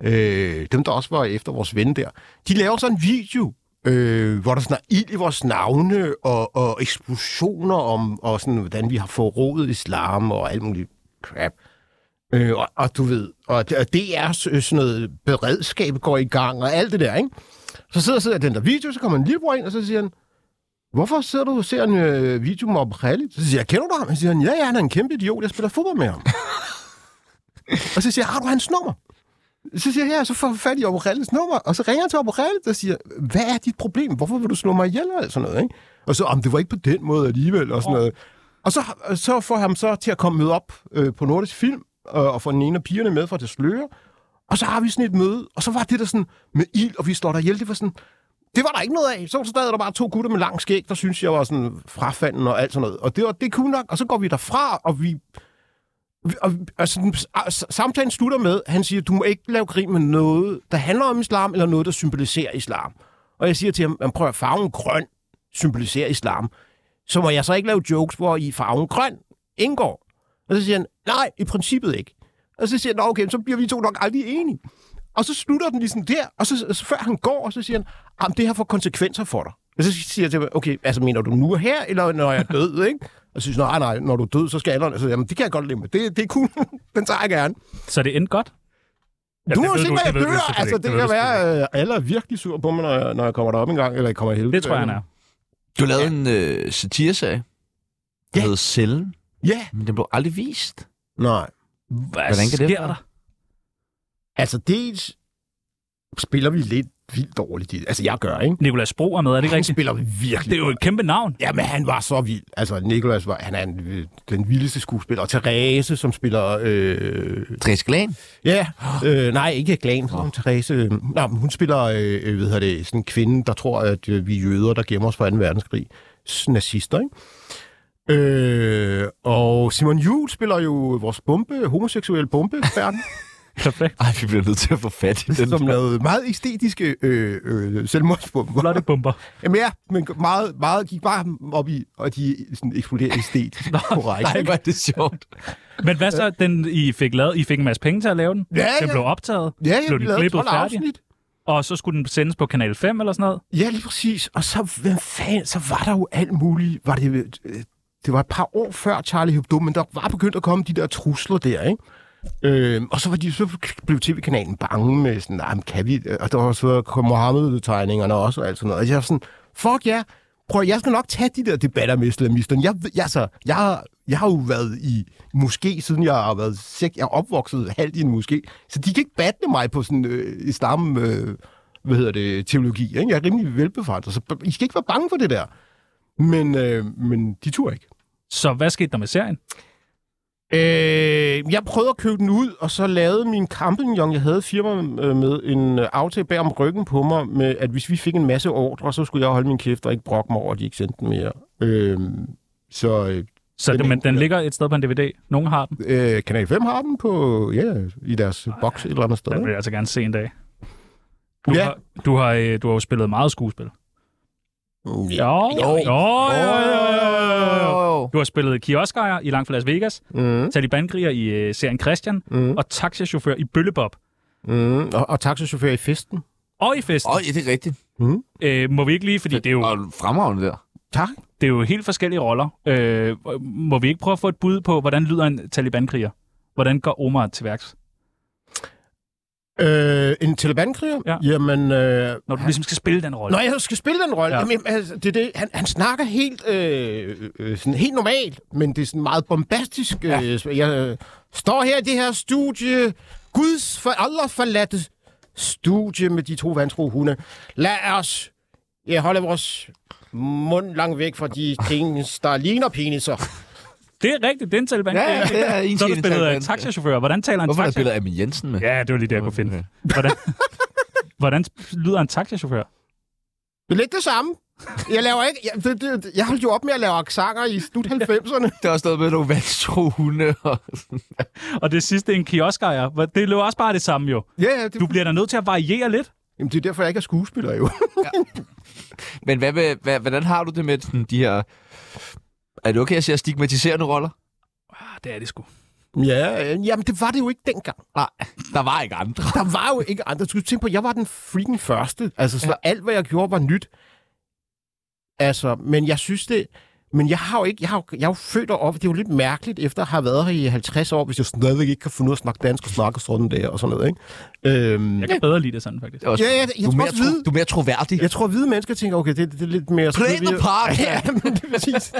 S3: Øh, dem, der også var efter vores ven der. De laver sådan en video, øh, hvor der sådan er ild i vores navne, og, og eksplosioner om, og sådan, hvordan vi har forrådet islam, og alt muligt crap. Øh, og, og du ved, og, det- og DR's øh, sådan noget beredskab går i gang, og alt det der, ikke? Så sidder, sidder den der video, så kommer en lillebror ind, og så siger han, hvorfor sidder du og ser en øh, video med Khalid? Så siger jeg, kender du ham? Og Så siger han, ja, ja, han er en kæmpe idiot, jeg spiller fodbold med ham. og så siger jeg, har du hans nummer? Så siger jeg, ja, så får jeg fat i Abu Khalids nummer, og så ringer jeg til Abu Khalid og siger, hvad er dit problem? Hvorfor vil du slå mig ihjel? Og alt sådan noget, ikke? Og så, om det var ikke på den måde alligevel, og sådan noget. Og så, så får han så til at komme møde op øh, på Nordisk Film, øh, og får den ene af pigerne med fra det sløre. Og så har vi sådan et møde, og så var det der sådan med ild, og vi slår dig ihjel. Det var sådan, det var der ikke noget af. Så så sad der bare to gutter med lang skæg, der synes jeg var sådan frafanden og alt sådan noget. Og det var det er cool nok, og så går vi derfra, og vi... vi- Og, og sådan, s- samtalen slutter med, at han siger, du må ikke lave krig med noget, der handler om islam, eller noget, der symboliserer islam. Og jeg siger til ham, "Jamen, prøv at farven grøn symboliserer islam. Så må jeg så ikke lave jokes, hvor i farven grøn indgår. Og så siger han, nej, i princippet ikke. Og så siger han, "Nå, okay, så bliver vi to nok aldrig enige. Og så slutter den ligesom der, og så, så før han går, og så siger han, jamen det her får konsekvenser for dig. Og så siger jeg til ham, okay, altså mener du nu og her, eller når jeg er død, ikke? Og så synes jeg, nej, nej, når du er død, så skal alderen. Altså, jamen, det kan jeg godt leve med. Det, det er cool. Den tager jeg gerne.
S4: Så det endte godt? Ja,
S3: du
S4: det
S3: må
S4: ved
S3: se,
S4: det
S3: hvad jeg
S4: ved du
S3: dør.
S4: selvfølgelig
S3: Altså,
S4: ikke.
S3: det,
S4: ved
S3: kan
S4: du selvfølgelig
S3: være, at alle er virkelig sur på mig, når jeg, når jeg kommer derop en gang, eller jeg kommer i helvede.
S4: ikke. Det tror jeg, han er.
S6: Du lavede en øh, satireserie, der
S3: Ja.
S6: hed Cellen,
S3: Ja.
S6: men den blev aldrig vist.
S3: Nej.
S4: Hvad
S6: Hvordan kan det
S4: sker
S6: være?
S4: der?
S3: Altså, dels spiller vi lidt vildt dårligt. i det. Altså, jeg gør, ikke?
S4: Nicolas Bro er med, er det ikke
S3: Han
S4: rigtigt?
S3: spiller virkelig
S4: Det er jo et kæmpe navn.
S3: Jamen, han var så vild. Altså, Nicolas var, han er en, øh, den vildeste skuespiller. Og Therese, som spiller... Øh,
S6: Dres Glan.
S3: ja, øh, nej, ikke Glan. Oh. Therese, øh, nej, men hun spiller, øh, øh, hvad hedder det, sådan en kvinde, der tror, at øh, vi er jøder, der gemmer os fra 2. verdenskrig. S- Nazister, ikke? Øh, og Simon Juhl spiller jo vores bombe, homoseksuel bombeekspert,
S4: Perfekt.
S6: Ej, vi bliver nødt til at få fat i den.
S3: som lavede meget æstetiske øh, øh, selvmordsbomber.
S4: Flotte bomber.
S3: Jamen ja, men meget, meget gik bare op i, og de sådan eksploderer æstetisk korrekt.
S6: Nej, hvor er det sjovt.
S4: Men hvad så, den I fik lavet? I fik en masse penge til at lave den?
S3: Ja,
S4: Den
S3: ja.
S4: blev optaget?
S3: Ja, ja,
S4: blev
S3: vi
S4: den
S3: lavede
S4: klippet
S3: 12
S4: færdig?
S3: afsnit.
S4: Og så skulle den sendes på Kanal 5 eller sådan noget?
S3: Ja, lige præcis. Og så, hvem fanden, så var der jo alt muligt. Var det, øh, det var et par år før Charlie Hebdo, men der var begyndt at komme de der trusler der, ikke? Øhm, og så, var de, så blev tv-kanalen bange med sådan, nej, men kan vi? Øh, Og der var så kom Mohammed-tegningerne også og alt sådan noget. Og jeg var sådan, fuck ja, prøv, jeg skal nok tage de der debatter med islamisterne. Jeg, ved- jeg, altså, jeg, jeg har jo været i moské, siden jeg har været sek, jeg er opvokset halvt i en moské. Så de kan ikke batte mig på sådan øh, islam, øh, hvad hedder det, teologi. Ikke? Jeg er rimelig velbefandret, så I skal ikke være bange for det der. Men, øh, men de turde ikke.
S4: Så hvad skete der med serien?
S3: Øh, jeg prøvede at købe den ud, og så lavede min campingjon, jeg havde et firma øh, med, en øh, aftale bag om ryggen på mig, med, at hvis vi fik en masse ordre, så skulle jeg holde min kæft og ikke brokke mig over, at de ikke sendte den mere. Øh, så øh,
S4: Så
S3: Den
S4: den, men
S3: ene-
S4: den ligger et sted på en DVD. Nogen har den.
S3: øh, Kanal 5 har den på, ja, i deres boks et eller andet sted.
S4: Den vil
S3: ikke?
S4: jeg altså gerne se en dag. Du,
S3: Ja.
S4: har, du, har, øh, du har jo spillet meget skuespil.
S3: Ja.
S4: Jo, jo, jo, jo, jo, jo.
S6: Åh.
S4: Du har spillet kioskejer i Langt fra Las Vegas,
S3: Mm,
S4: talibangriger i øh, serien Christian,
S3: mm,
S4: og taxachauffør i Bøllebop.
S3: mm. Og, og taxachauffør i festen.
S4: Og i festen.
S6: Åh, ja, det er rigtigt.
S4: Øh, må vi ikke lige, fordi det er jo,
S6: Og fremragende der.
S3: Tak.
S4: det er jo helt forskellige roller. Øh, må vi ikke prøve at få et bud på, hvordan lyder en talibankriger? Hvordan går Omar til værks?
S3: Øh, en talibankriger?
S4: Ja.
S3: Jamen, øh,
S4: Når du ligesom skal spille den rolle.
S3: Nå, jeg skal spille den rolle.
S4: Ja.
S3: Ja. Jamen, altså, det, er det, han, han snakker helt, øh, øh, sådan, helt normalt, men det er sådan meget bombastisk. Ja. Øh, jeg øh, står her i det her studie, Guds for Allah forladte studie med de to vantro hunde. Lad os ja, holde vores mund langt væk fra de ting, der ligner peniser.
S4: Det er rigtigt, det er en talibankriger.
S6: Ja, ja, det er en
S4: Så har
S6: til
S4: du
S6: en
S4: spillet øh,
S6: talibankriger.
S4: taxachauffør. Hvordan taler en
S6: Hvorfor er der et
S4: taxa?
S6: billede af Amin Jensen med?
S4: Ja, det var lige det, jeg kunne finde. Hvordan, hvordan lyder en taxachauffør?
S3: Det er lidt det samme. Jeg, laver ikke, jeg, det, det, jeg holdt jo op med at lave aksanger i slut 90'erne.
S6: Der er også noget med nogle vandstro hunde. Og...
S4: Og det sidste, en kioskejer. Hvor- Det løber også bare det samme jo.
S3: Ja, ja det,
S4: Du bliver da nødt til at variere lidt.
S3: jamen, det er derfor, jeg ikke er skuespiller jo.
S6: Men hvad med, hvad, hvordan har du det med sådan, de her... Er det okay, at jeg siger stigmatiserende roller?
S4: Ah, det er det sgu.
S3: Ja, øh, jamen det var det jo ikke dengang.
S6: Nej, der var ikke andre.
S3: Der var jo ikke andre. Du skulle tænke på, jeg var den freaking første. Altså, så ja. alt, hvad jeg gjorde, var nyt. Altså, men jeg synes det... Men jeg har jo ikke... Jeg, har, jo- jeg er jo født op. Det er jo lidt mærkeligt, efter at have været her i 50 år, hvis jeg stadigvæk ikke kan finde ud af at snakke dansk og snakke sådan der og sådan noget, ikke? Øhm,
S4: Jeg kan bedre lide det sådan, faktisk.
S6: Det er også-
S3: Ja, ja, jeg
S6: du, er
S3: tror
S6: mere
S3: også vide-
S6: du er mere troværdig.
S3: jeg tror, at hvide mennesker tænker, okay, det, det er lidt mere...
S6: Play the park!
S3: Ja, men det er præcis.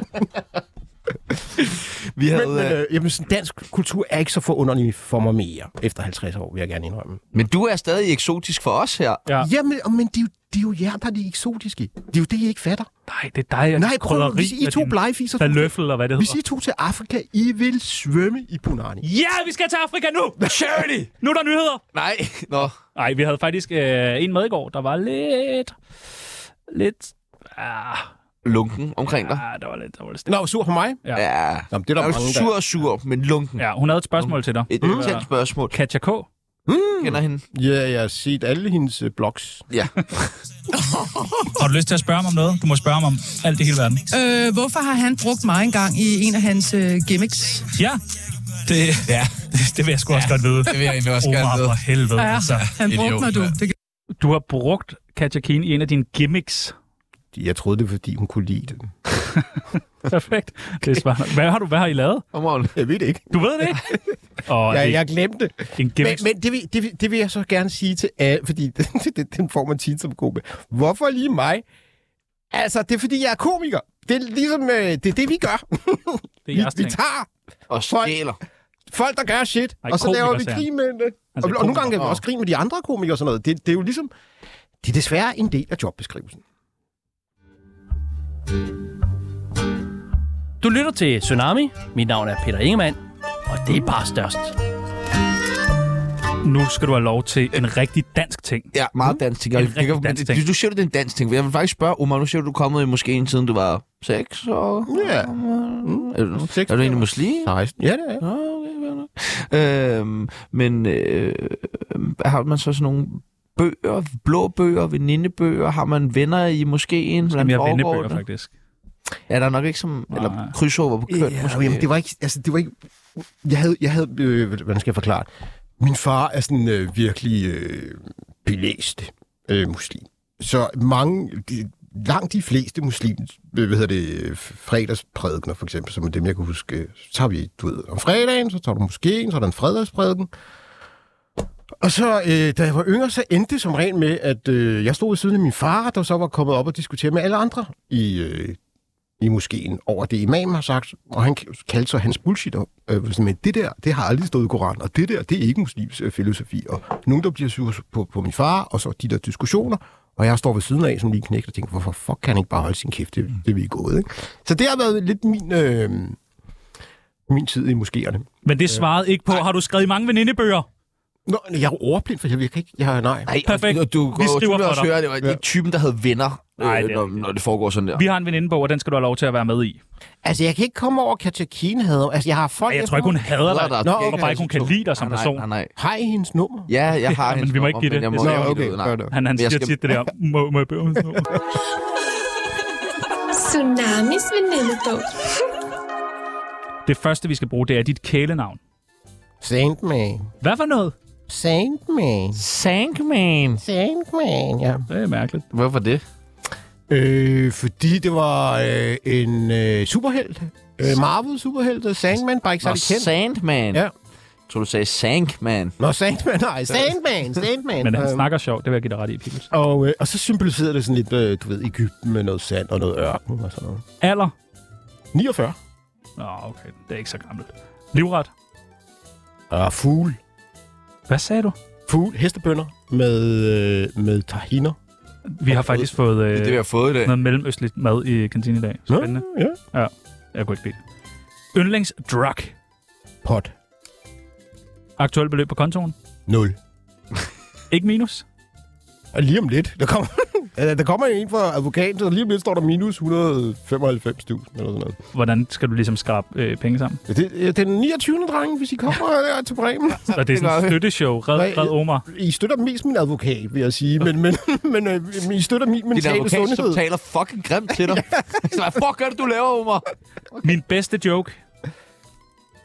S6: Vi havde,
S3: Men, men,
S6: men,
S3: øh, jamen, sådan, dansk kultur er ikke så forunderlig for mig mere efter 50 år, vil jeg gerne indrømme.
S6: men du er stadig eksotisk for os her.
S4: Ja.
S3: Jamen, og- men det er jo det er jo jer, der er de eksotiske. Det er jo det, I ikke fatter.
S4: Nej, det er dig.
S3: Nej, prøv at hvis I to blegefiser...
S4: Faløffel og hvad det
S3: Hvis
S4: hedder.
S3: I to til Afrika, I vil svømme i Punani.
S4: Ja, vi skal til Afrika nu!
S1: Charity!
S4: Nu er der nyheder!
S1: Nej, nå.
S4: Nej, vi havde faktisk øh, en med i går, der var lidt... Lidt... Ah,
S1: Lunken omkring dig.
S4: ah, der var lidt... Der var lidt stille.
S3: Nå, sur på mig?
S1: Ja.
S3: Jamen, det er
S1: Jeg
S3: der
S1: er jo
S3: mange, der...
S1: sur og sur, men lunken.
S4: Ja, hun havde et spørgsmål til dig.
S1: Et
S6: Mm.
S1: tæt spørgsmål.
S4: Katja K.
S1: Kender hende?
S3: Ja, jeg har set alle hendes øh, blogs.
S1: Ja.
S4: Har du lyst til at spørge mig om noget? Du må spørge mig om alt i hele verden.
S8: Øh, hvorfor har han brugt mig engang i en af hans øh, gimmicks?
S4: Ja, det, ja. det, det vil jeg sgu også godt vide.
S1: Det vil jeg egentlig også
S4: Omar, for helvede.
S8: Ja,
S4: Altså.
S8: han brugte mig, du. Det kan
S4: Du har brugt Katja Keen i en af dine gimmicks.
S3: Jeg troede, det var, fordi hun kunne lide den.
S4: Perfekt. Det er smart. Hvad har, du, hvad har I lavet?
S1: Godmorgen.
S3: Jeg ved det ikke.
S4: Du ved det ikke? Og
S3: Ja,
S4: det er
S3: jeg glemte det.
S4: en
S3: Men,
S4: gimmicks.
S3: men det, vil, det, vil, det vil jeg så gerne sige til alle, fordi det, det, den får man tit som komiker. Hvorfor lige mig? Altså, det er, fordi jeg er komiker. Det er ligesom, øh, det er det, vi gør.
S4: Det er
S3: Vi,
S4: jeres
S3: vi
S4: ting.
S3: tager
S1: Og stjæler.
S3: folk, der gør shit,
S4: Ej,
S3: og så laver vi
S4: komiker,
S3: grin med det.
S4: Altså,
S3: Altså, og, og nogle gange kan vi
S1: komiker.
S3: også grine med de andre komikere og sådan noget. Det, det er jo ligesom... Det er desværre en del af jobbeskrivelsen.
S9: Du lytter til Tsunami. Mit navn er Peter Ingemann, og det er bare størst.
S4: Nu skal du have lov til en rigtig dansk ting.
S1: Ja, meget dansk ting. Jeg,
S4: Mm. En rigtig
S1: jeg,
S4: dansk
S1: dansk
S4: ting.
S1: ting. Du, du siger, det er en dansk ting. for Jeg vil faktisk spørge, Omar, nu siger du, du er kommet i moskeen, siden du var 6 og...
S3: Ja.
S1: Mm, er, du,
S3: Seks
S1: er du egentlig
S3: år.
S1: muslim?
S3: Ja, det er
S1: Nå, okay, fair nok. Øhm, men øh, har man så sådan nogle bøger, blå bøger, venindebøger? Har man venner i moskeen? Hvordan
S4: Jamen, jeg har
S1: foregår
S4: vennebøger,
S1: det?
S4: faktisk.
S1: Ja, der er nok ikke som... Nej. Eller krydsover på køn.
S3: Ja,
S1: måske.
S3: jamen, det var ikke... Altså, det var ikke... Jeg havde... Jeg havde øh, hvordan skal jeg forklare det? Min far er sådan øh, virkelig øh, belæst øh, muslim. Så mange... De, langt de fleste muslim, øh, hvad hedder det, øh, fredagsprædikener for eksempel, som er dem, jeg kan huske, øh, så tager vi, du ved, om fredagen, så tager du moskeen, så er der en fredagsprædiken, Og så, øh, da jeg var yngre, så endte det som regel med, at øh, jeg stod ved siden af min far, der så var kommet op og diskuterede med alle andre i, øh, i moskeen over det, imam har sagt. Og han kaldte så hans bullshit op. Øh, sådan, men det der, det har aldrig stået i Koranen, og det der, det er ikke muslims øh, filosofi. Og nogen, der bliver sur på, på min far, og så de der diskussioner, og jeg står ved siden af som lige knægt og tænker, hvorfor fuck kan han ikke bare holde sin kæft,
S4: Mm.
S3: det, det er vi er gået, ikke? Så det har været lidt min, øh, min tid i moskéerne.
S4: Men det svarede ikke på, har du skrevet i mange venindebøger?
S3: Nå, jeg er ordblind, for jeg virker ikke, jeg har nej.
S1: Nej,
S4: Perfekt.
S1: Og, og du
S4: Vi
S1: går jo
S4: skriver
S1: tydeligt
S4: for
S1: også
S4: dig.
S1: høre, det var ikke typen, der havde venner,
S4: Nej,
S1: Nej,
S4: det
S1: det
S4: er
S1: når,
S4: rigtigt.
S1: når det foregår sådan der.
S4: Vi har en venindebog, og den skal du have lov til at være med i.
S3: Altså, jeg kan ikke komme over, at Katja Kine havde... Altså, jeg har folk...
S4: Og jeg tror ikke, hun hader
S1: Der,
S4: dig.
S3: Nå,
S4: Jeg tror
S3: okay.
S4: bare ikke, hun kan lide dig som
S1: nej,
S4: person.
S1: Nej, nej, nej.
S3: Har I hendes nummer?
S1: Ja, jeg har
S4: Ja, men
S1: hendes
S4: vi må
S1: nummer,
S4: ikke give det.
S1: men Jeg må
S4: Nå,
S1: ikke
S3: okay,
S1: give det. ud, Nej.
S3: fair nok.
S4: Han, han
S1: Men jeg
S4: siger
S1: skal-
S4: tit det der, må, må jeg bøge
S10: Tsunamis venindebog.
S4: Det første, vi skal bruge, det er dit kælenavn.
S3: Sandman.
S4: Hvad for noget?
S3: Sandman.
S1: Sankman.
S3: Sandman, ja.
S4: Det er mærkeligt.
S1: Hvorfor det?
S3: Øh, fordi det var øh, en øh, superhelt. Øh, Marvel-superhelt. og Sandman, bare ikke
S1: Nå,
S3: særlig kendt.
S1: Sandman.
S3: Ja.
S1: Jeg tror, du sagde Sankman.
S3: Nå, Sandman, nej. Sandman, Sandman.
S4: Øh. Men han
S3: Øhm,
S4: snakker sjovt, det vil jeg give dig ret i, Pibels.
S3: Og, øh, og så symboliserede det sådan lidt, øh, du ved, Ægypten med noget sand og noget ørken og sådan noget.
S4: Alder?
S3: 49.
S4: Nå, okay. Det er ikke så gammelt. Livret?
S3: Og fugl.
S4: Hvad sagde du?
S3: Fugl, hestebønder med, øh, med tahiner.
S4: Vi har faktisk fået øh,
S1: Det er det, vi har fået i dag.
S4: noget mellemøstligt mad i kantinen i dag. Spændende.
S3: Ja, ja.
S4: Jeg kunne ikke lide det. Yndlingsdrug.
S3: Pot.
S4: Aktuelt beløb på kontoen?
S3: 0.
S4: Ikke minus?
S3: Og lige om lidt, der kommer, Ja, der kommer en fra advokaten, og lige om lidt står der minus 195.000 eller sådan noget.
S4: Hvordan skal du ligesom skrabe øh, penge sammen?
S3: Ja, Det, ja, det er den 29. dreng, hvis I kommer der til Bremen.
S4: Og det er sådan et støtteshow. Red,
S3: Nej,
S4: red Omar.
S3: I støtter mest min advokat, vil jeg sige, men, men, men øh, men I støtter min
S1: Din
S3: mentale
S1: advokat, som
S3: sundhed.
S1: taler fucking grimt til dig. Så hvad fuck er det, du laver, Omar?
S4: Min bedste joke.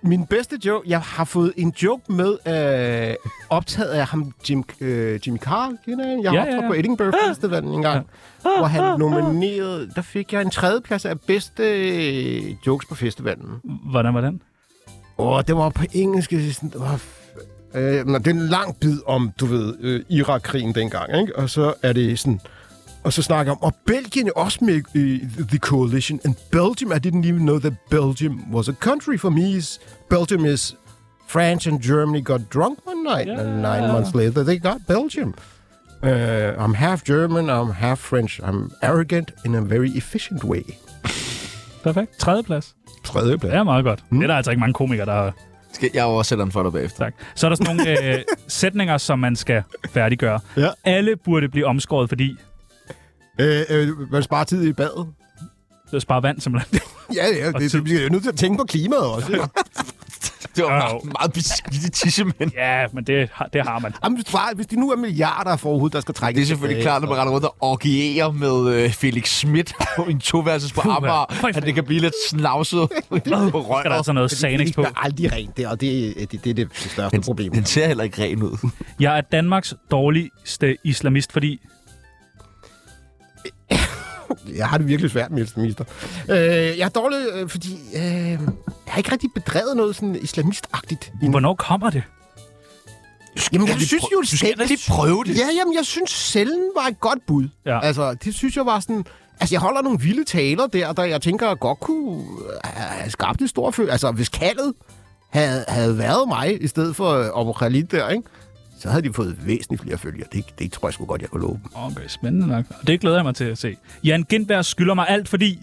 S3: Min bedste joke, jeg har fået en joke med øh, optaget af ham, Jim, øh, Jimmy Carl, kender I? jeg
S4: Ja,
S3: ja,
S4: ja,
S3: har optrådt
S4: ja.
S3: på Edinburgh Festivalen en gang, hvor han nominerede, der fik jeg en tredjeplads af bedste øh, jokes på festivalen.
S4: Hvordan var den?
S3: Åh, det var på engelsk. jeg synes Sådan, det, var f- øh, nå, det er en lang bid om, du ved, øh, Irak-krigen dengang, ikke? Og så er det sådan... Og så snakker jeg om, og Belgien er også med i The Coalition, and Belgium, I didn't even know that Belgium was a country for me. Is, Belgium is France and Germany got drunk one night, yeah. and nine months later they got Belgium. Uh, I'm half German, I'm half French. I'm arrogant in a very efficient way.
S4: Perfekt. Tredje plads.
S3: Tredje
S4: Det er meget godt. Mm. Det er der altså ikke mange komikere, der har...
S1: Skal jeg oversætter den for dig bagefter?
S4: Tak. Så er der sådan nogle øh, sætninger, som man skal færdiggøre.
S3: Ja.
S4: Alle burde blive omskåret, fordi
S3: Øh, øh, man sparer tid i badet.
S4: det sparer vand simpelthen.
S3: Ja, ja det, det, vi er jo nødt til at tænke på klimaet også.
S1: Det var
S4: Au.
S1: meget, meget beskidte tissemænd.
S4: ja, men det, har- det har man.
S3: Jamen, bare, hvis de nu er milliarder af forhud, der skal trækkes
S1: Det er selvfølgelig
S3: tilbage,
S1: klart, når man render rundt og orgierer med øh, Felix Schmidt på en toværelses på
S4: Puha.
S1: Amager, at det kan blive lidt snavset på
S4: Skal der
S1: røret.
S4: altså noget
S3: Det
S4: sanings på?
S3: er aldrig rent, det, og det, det, det er det største problem.
S4: altså-
S1: Den ser heller ikke ren ud.
S4: Jeg er Danmarks dårligste islamist, fordi...
S3: Jeg har det virkelig svært med islamister. Øh, jeg er dårlig, øh, fordi øh, jeg har ikke rigtig bedrevet noget sådan islamistagtigt.
S4: Hvornår kommer det?
S3: Jamen, jeg synes jo
S1: Du skal da lige prøve det.
S3: Ja, jamen, jeg synes cellen var et godt bud.
S4: Ja.
S3: Altså, det synes jeg var sådan... Altså, jeg holder nogle vilde taler der, der jeg tænker, jeg godt kunne øh, have skabt en stor følelse. Altså, hvis kaldet havde, havde været mig, i stedet for øh, Abu Khalid der, ikke? så havde de fået væsentligt flere følgere. Det, det tror jeg sgu godt, jeg kunne love.
S4: Okay, spændende nok. Det glæder jeg mig til at se. Jan Gindberg skylder mig alt, fordi...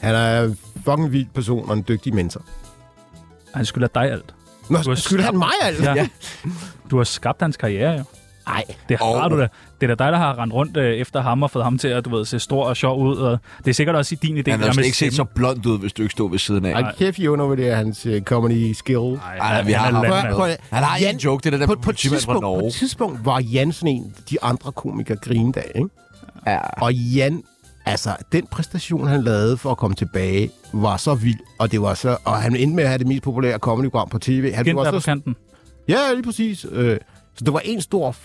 S3: Han er en fucking vild person og en dygtig mentor.
S4: Han skylder dig alt. Du
S3: Nå,
S4: har
S3: skylder han mig alt?
S4: Ja. Du har skabt hans karriere, jo.
S3: Nej.
S4: Det har du da. Det er da dig, der har rendt rundt øh, efter ham og fået ham til at du ved, se stor og sjov ud. Og det er sikkert også i din
S1: Han
S4: idé. det der
S1: har
S4: med
S1: slet ikke set så
S4: stemme.
S1: blond ud, hvis du ikke stod ved siden af.
S3: Ej, kæft, I undervurderer hans uh, comedy skill.
S4: Ej,
S1: Ej, vi
S4: han
S1: har ham.
S4: er landmand.
S3: Prøv at-
S1: Han har ikke en joke, det er den der
S3: på, på, et
S1: politimand fra
S3: tidspunkt, på
S1: Norge.
S3: et tidspunkt var Jan sådan en, de andre komikere grinede af, ikke?
S1: Ja.
S3: Og Jan, altså, den præstation, han lavede for at komme tilbage, var så vild, og det var så... Og han endte med at have det mest populære comedy-program på tv. Han
S4: Gindberg
S3: var
S4: på
S3: så,
S4: kanten.
S3: ja, lige præcis. Øh, så det var en stor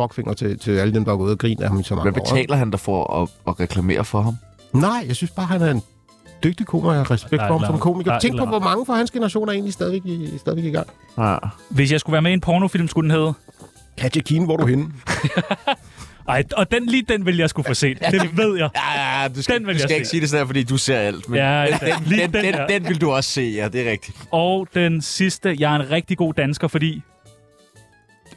S3: fuckfinger til, til alle dem, der var gået og grinede af ham i så mange
S1: Hvad
S3: år, ikke?
S1: betaler han der for at, at reklamere for ham?
S3: Nej, jeg synes bare, han er en dygtig komiker. Jeg har respekt
S4: Der er
S3: for
S4: et
S3: ham som
S4: eller- der
S3: komiker.
S4: er et
S3: Tænk på,
S4: eller
S3: hvor mange fra hans generation er egentlig stadigvæk i, stadigvæk i gang.
S1: Ja.
S4: Hvis jeg skulle være med i en pornofilm, skulle den hedde...
S3: Katjakine, hvor er du henne?
S4: Ej, og den, lige den vil jeg skulle få set. Det ved jeg.
S1: Ja, ja, du skal,
S4: Den vil
S1: du
S4: jeg
S1: skal ikke
S4: se.
S1: sige det sådan her, fordi du ser alt. Men
S4: Ja,
S1: den,
S4: ja, lige
S1: den,
S4: den
S1: den,
S4: her.
S1: den, den vil du også se, ja, det er rigtigt.
S4: Og den sidste. Jeg er en rigtig god dansker, fordi...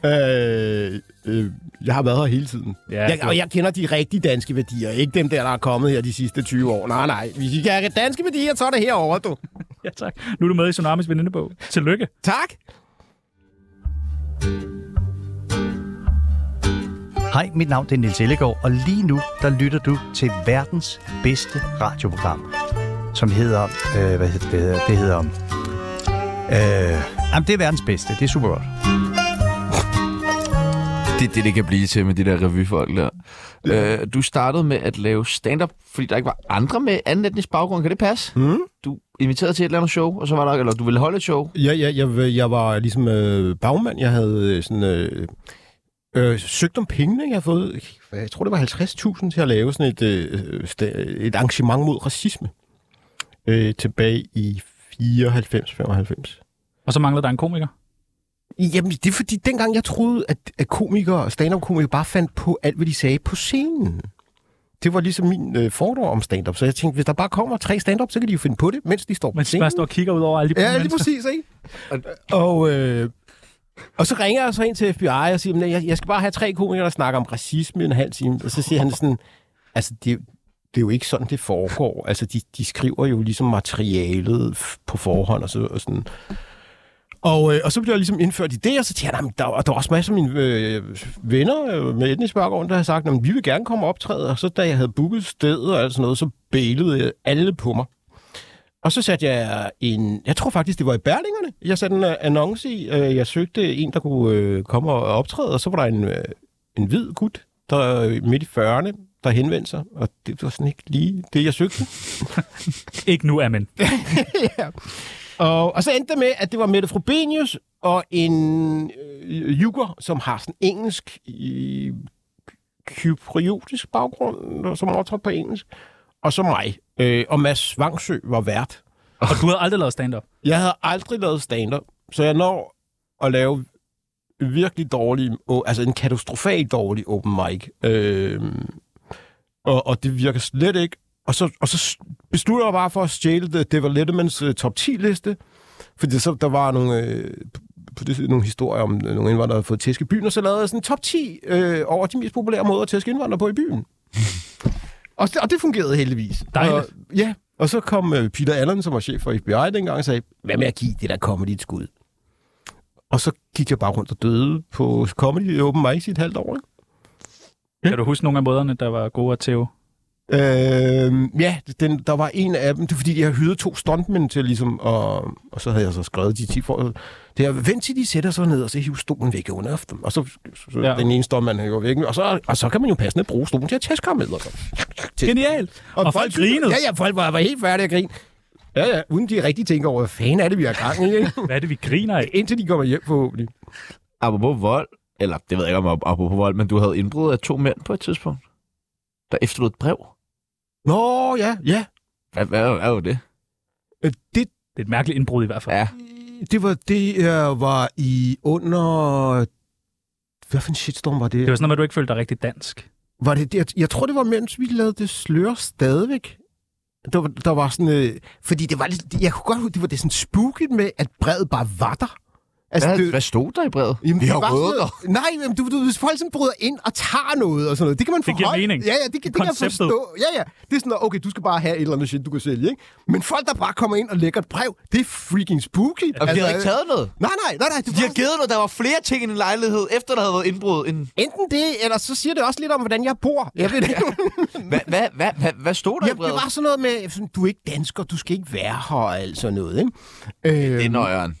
S3: Øh, øh, jeg har været her hele tiden.
S4: Ja,
S3: jeg,
S4: det-
S3: og jeg kender de rigtige danske værdier, ikke dem der, der er kommet her de sidste 20 år. Nej, nej. Hvis I kan have danske værdier, så er det herovre, du.
S4: Ja, tak. Nu er du med i Tsunamis venindebog. Tillykke.
S3: Tak.
S11: Hej, mit navn det er Nils Ellegaard, og lige nu der lytter du til verdens bedste radioprogram, som hedder... Øh, hvad hedder det? hedder? Det hedder... Øh, jamen, det er verdens bedste. Det er super godt.
S1: Det er det, det kan blive til med de der revyfolk der. Ja. Øh, du startede med at lave stand-up, fordi der ikke var andre med anden etnisk baggrund. Kan det passe? Mm. Du inviterede til et eller andet show, og så var der, eller du ville holde et show.
S3: Ja, ja, jeg, jeg var ligesom øh, bagmand. Jeg havde øh, sådan... Øh, øh, søgt om pengene, jeg har fået... Jeg tror, det var 50.000 til at lave sådan et, øh, sta- et arrangement mod racisme. Øh, tilbage i 94-95.
S4: Og så mangler der en komiker.
S3: Jamen, det er fordi, dengang jeg troede, at, at komikere og stand-up-komikere bare fandt på alt, hvad de sagde på scenen. Det var ligesom min øh, fordom om stand-up. Så jeg tænkte, hvis der bare kommer tre stand-up, så kan de jo finde på det, mens de står på
S4: Men
S3: scenen.
S4: man står og kigger ud over alle de
S3: Ja, lige
S4: mennesker.
S3: præcis, ikke? Og, øh, og så ringer jeg så ind til FBI og siger, at jeg, jeg skal bare have tre komikere, der snakker om racisme i en halv time. Og så siger han sådan, altså det, det er jo ikke sådan, det foregår. Altså de, de skriver jo ligesom materialet f- på forhånd og, så, og sådan. Og, øh, og så blev jeg ligesom indført i det, og så tænkte jeg, "Nå, men der, var- der var også masser af mine øh, venner øh, med etnisk baggrund, der havde sagt, at vi vil gerne komme og optræde. Og så da jeg havde booket stedet og alt sådan noget, så bælede alle på mig. Og så satte jeg en, jeg tror faktisk, det var i Berlingerne, jeg satte en øh, annonce i. Øh, jeg søgte en, der kunne øh, komme og optræde, og så var der en, øh, en hvid gut, der øh, midt i 40'erne, der henvendte sig, og det var sådan ikke lige det, jeg søgte.
S4: Ikke nu, amen.
S3: Og, og så endte det med, at det var Mette Frobenius og en øh, juger, som har sådan engelsk, øh, kypriotisk baggrund, og som optrådte på engelsk, og så mig. Øh, og Mads Vangsø var vært.
S4: Og du har aldrig lavet stand-up.
S3: Jeg havde aldrig lavet stand-up, så jeg når at lave virkelig dårlig, å- altså en katastrofal dårlig open mic. Øhm, og, og det virker slet ikke. Og så, og så s- beslutter jeg bare for at stjæle det. Det var Lettermans uh, top 10-liste, fordi så, der var nogle øh, p- pludselig nogle historier om øh, nogle indvandrere, der havde fået tæsk i byen, og så lavede jeg sådan en top 10 øh, over de mest populære måder at tæske indvandrere på i byen. og, det, og det fungerede heldigvis.
S4: Dejligt.
S3: Og, ja, og så kom øh, Peter Allen, som var chef for FBI dengang, og sagde, hvad med at give det der comedy et skud? Og så gik jeg bare rundt og døde på comedy open mic i et halvt år.
S4: Kan du huske nogle af brødrene, der var gode at tæve?
S3: Øh, ja, den, der var en af dem, det er fordi, jeg hyrede to stuntmænd til ligesom, og, og så havde jeg så skrevet de 10 for, det er, vent til de sætter sig ned, og så hiver stolen væk under dem, og så, så
S4: Ja.
S3: ja. den ene stuntmand han går væk, og så, og så kan man jo passende bruge stolen til at tæske ham med. Og,
S4: Genialt! Og, og folk, folk grinede.
S3: Ja, ja, folk var, var helt færdige at grine. Ja, ja, uden de rigtig tænker over, hvad fanden er det, vi har gang i, ikke?
S4: Hvad er det, vi griner af?
S3: Indtil de kommer hjem forhåbentlig.
S1: Apropos vold, eller det ved jeg ikke om ap- apropos vold, men du havde indbrud af to mænd på et tidspunkt, der efterlod et brev.
S3: Nå, ja, ja.
S1: Hvad, hvad, hvad var det?
S3: Øh, Det,
S4: Det er et mærkeligt indbrud i hvert fald.
S1: Ja.
S3: det var, det øh, var i under... Hvad for en shitstorm var
S4: Det var sådan noget, med, at du ikke følte dig rigtig dansk.
S3: Var det, jeg, jeg tror, det var mens vi lavede det slør stadigvæk. Der, var- der var sådan... Øh, fordi det var lidt... Jeg kunne godt huske, det var det sådan spooket med, at brevet bare var der. Altså,
S1: Hvad,
S3: det,
S1: hvad stod der i brevet?
S3: Jamen,
S1: vi
S3: det
S1: har
S3: var sådan
S1: røvet dig.
S3: noget- Nej, men du, du, hvis folk sådan bryder ind og tager noget og sådan noget, det kan man
S4: Det giver
S3: forholde.
S4: mening.
S3: Ja, ja, det, kan- det kan jeg
S4: Konceptet.
S3: forstå. Ja, ja. Det er sådan noget, okay, du skal bare have et eller andet shit, du kan sælge, ikke? Men folk, der bare kommer ind og lægger et brev, det er freaking spooky. Altså,
S1: Og vi havde ikke taget noget.
S3: Nej, nej, nej, nej. Det
S1: Altså, De
S3: var
S1: har givet noget. Der var flere ting i en lejlighed, efter der havde været indbrud. End...
S3: enten det, eller så siger det også lidt om, hvordan jeg bor. Jeg ved det ikke.
S1: Hvad, hvad, hvad, hvad, hvad stod der i
S3: Jamen, det
S1: brevet?
S3: var sådan noget med, sådan, du er ikke dansker, du skal ikke være her og alt sådan noget, ikke? Øh,
S1: Det er nøjeren.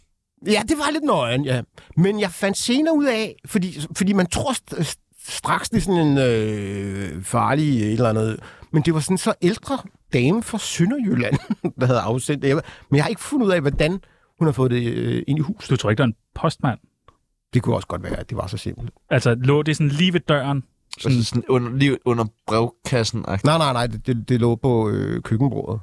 S3: ja, det var lidt nøjen, ja. Men jeg fandt senere ud af, fordi, fordi man tror st- st- straks, det er sådan en øh, farlig et eller andet, men det var sådan så ældre dame fra Sønderjylland, der havde afsendt det. Jeg- Men jeg har ikke fundet ud af, hvordan hun har fået det øh, ind i huset.
S4: Du tror ikke, der er en postmand?
S3: Det kunne også godt være, at det var så simpelt.
S4: Altså, lå det sådan lige ved døren?
S1: Sådan, sådan under, lige under brevkassen. -agtigt.
S3: Nej, nej, nej, det, det, det lå på øh, køkkenbordet.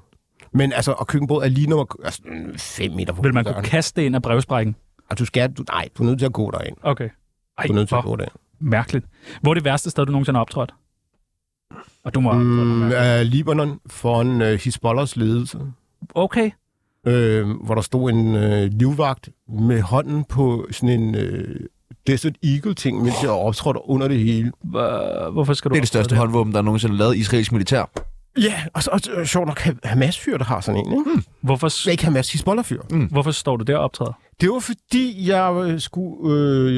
S3: Men altså, og køkkenbordet er lige nummer... Altså, mm, fem meter fra
S4: Vil man
S3: døren.
S4: kunne kaste det ind af brevsprækken?
S3: Og du skal... Du, nej, du er nødt til at gå derind.
S4: Okay. Ej,
S3: Du er nødt til at
S4: hvor
S3: gå derind.
S4: mærkeligt. Hvor er det værste sted, du nogensinde har optrådt? Og du må...
S3: Mm,
S4: Mm,
S3: uh, Libanon foran uh, Hizbollahs ledelse,
S4: okay.
S3: uh, hvor der stod en uh, livvagt med hånden på sådan en uh, Desert Eagle-ting, mens jeg optrådte under det hele.
S4: Hvor- Hvorfor skal du...
S1: Det er det største
S4: optræde
S1: håndvåben, der nogensinde er lavet i israelsk militær.
S3: Ja, og, så, og, så- sjovt nok Ha- Hamas-fyr, der har sådan en, ikke? Hmm.
S4: der? Hvorfor,
S3: Ikke Hamas, Hizbollah-fyr.
S4: hvorfor står du der og optræder?
S3: Det var fordi, jeg øh, skulle... Øh,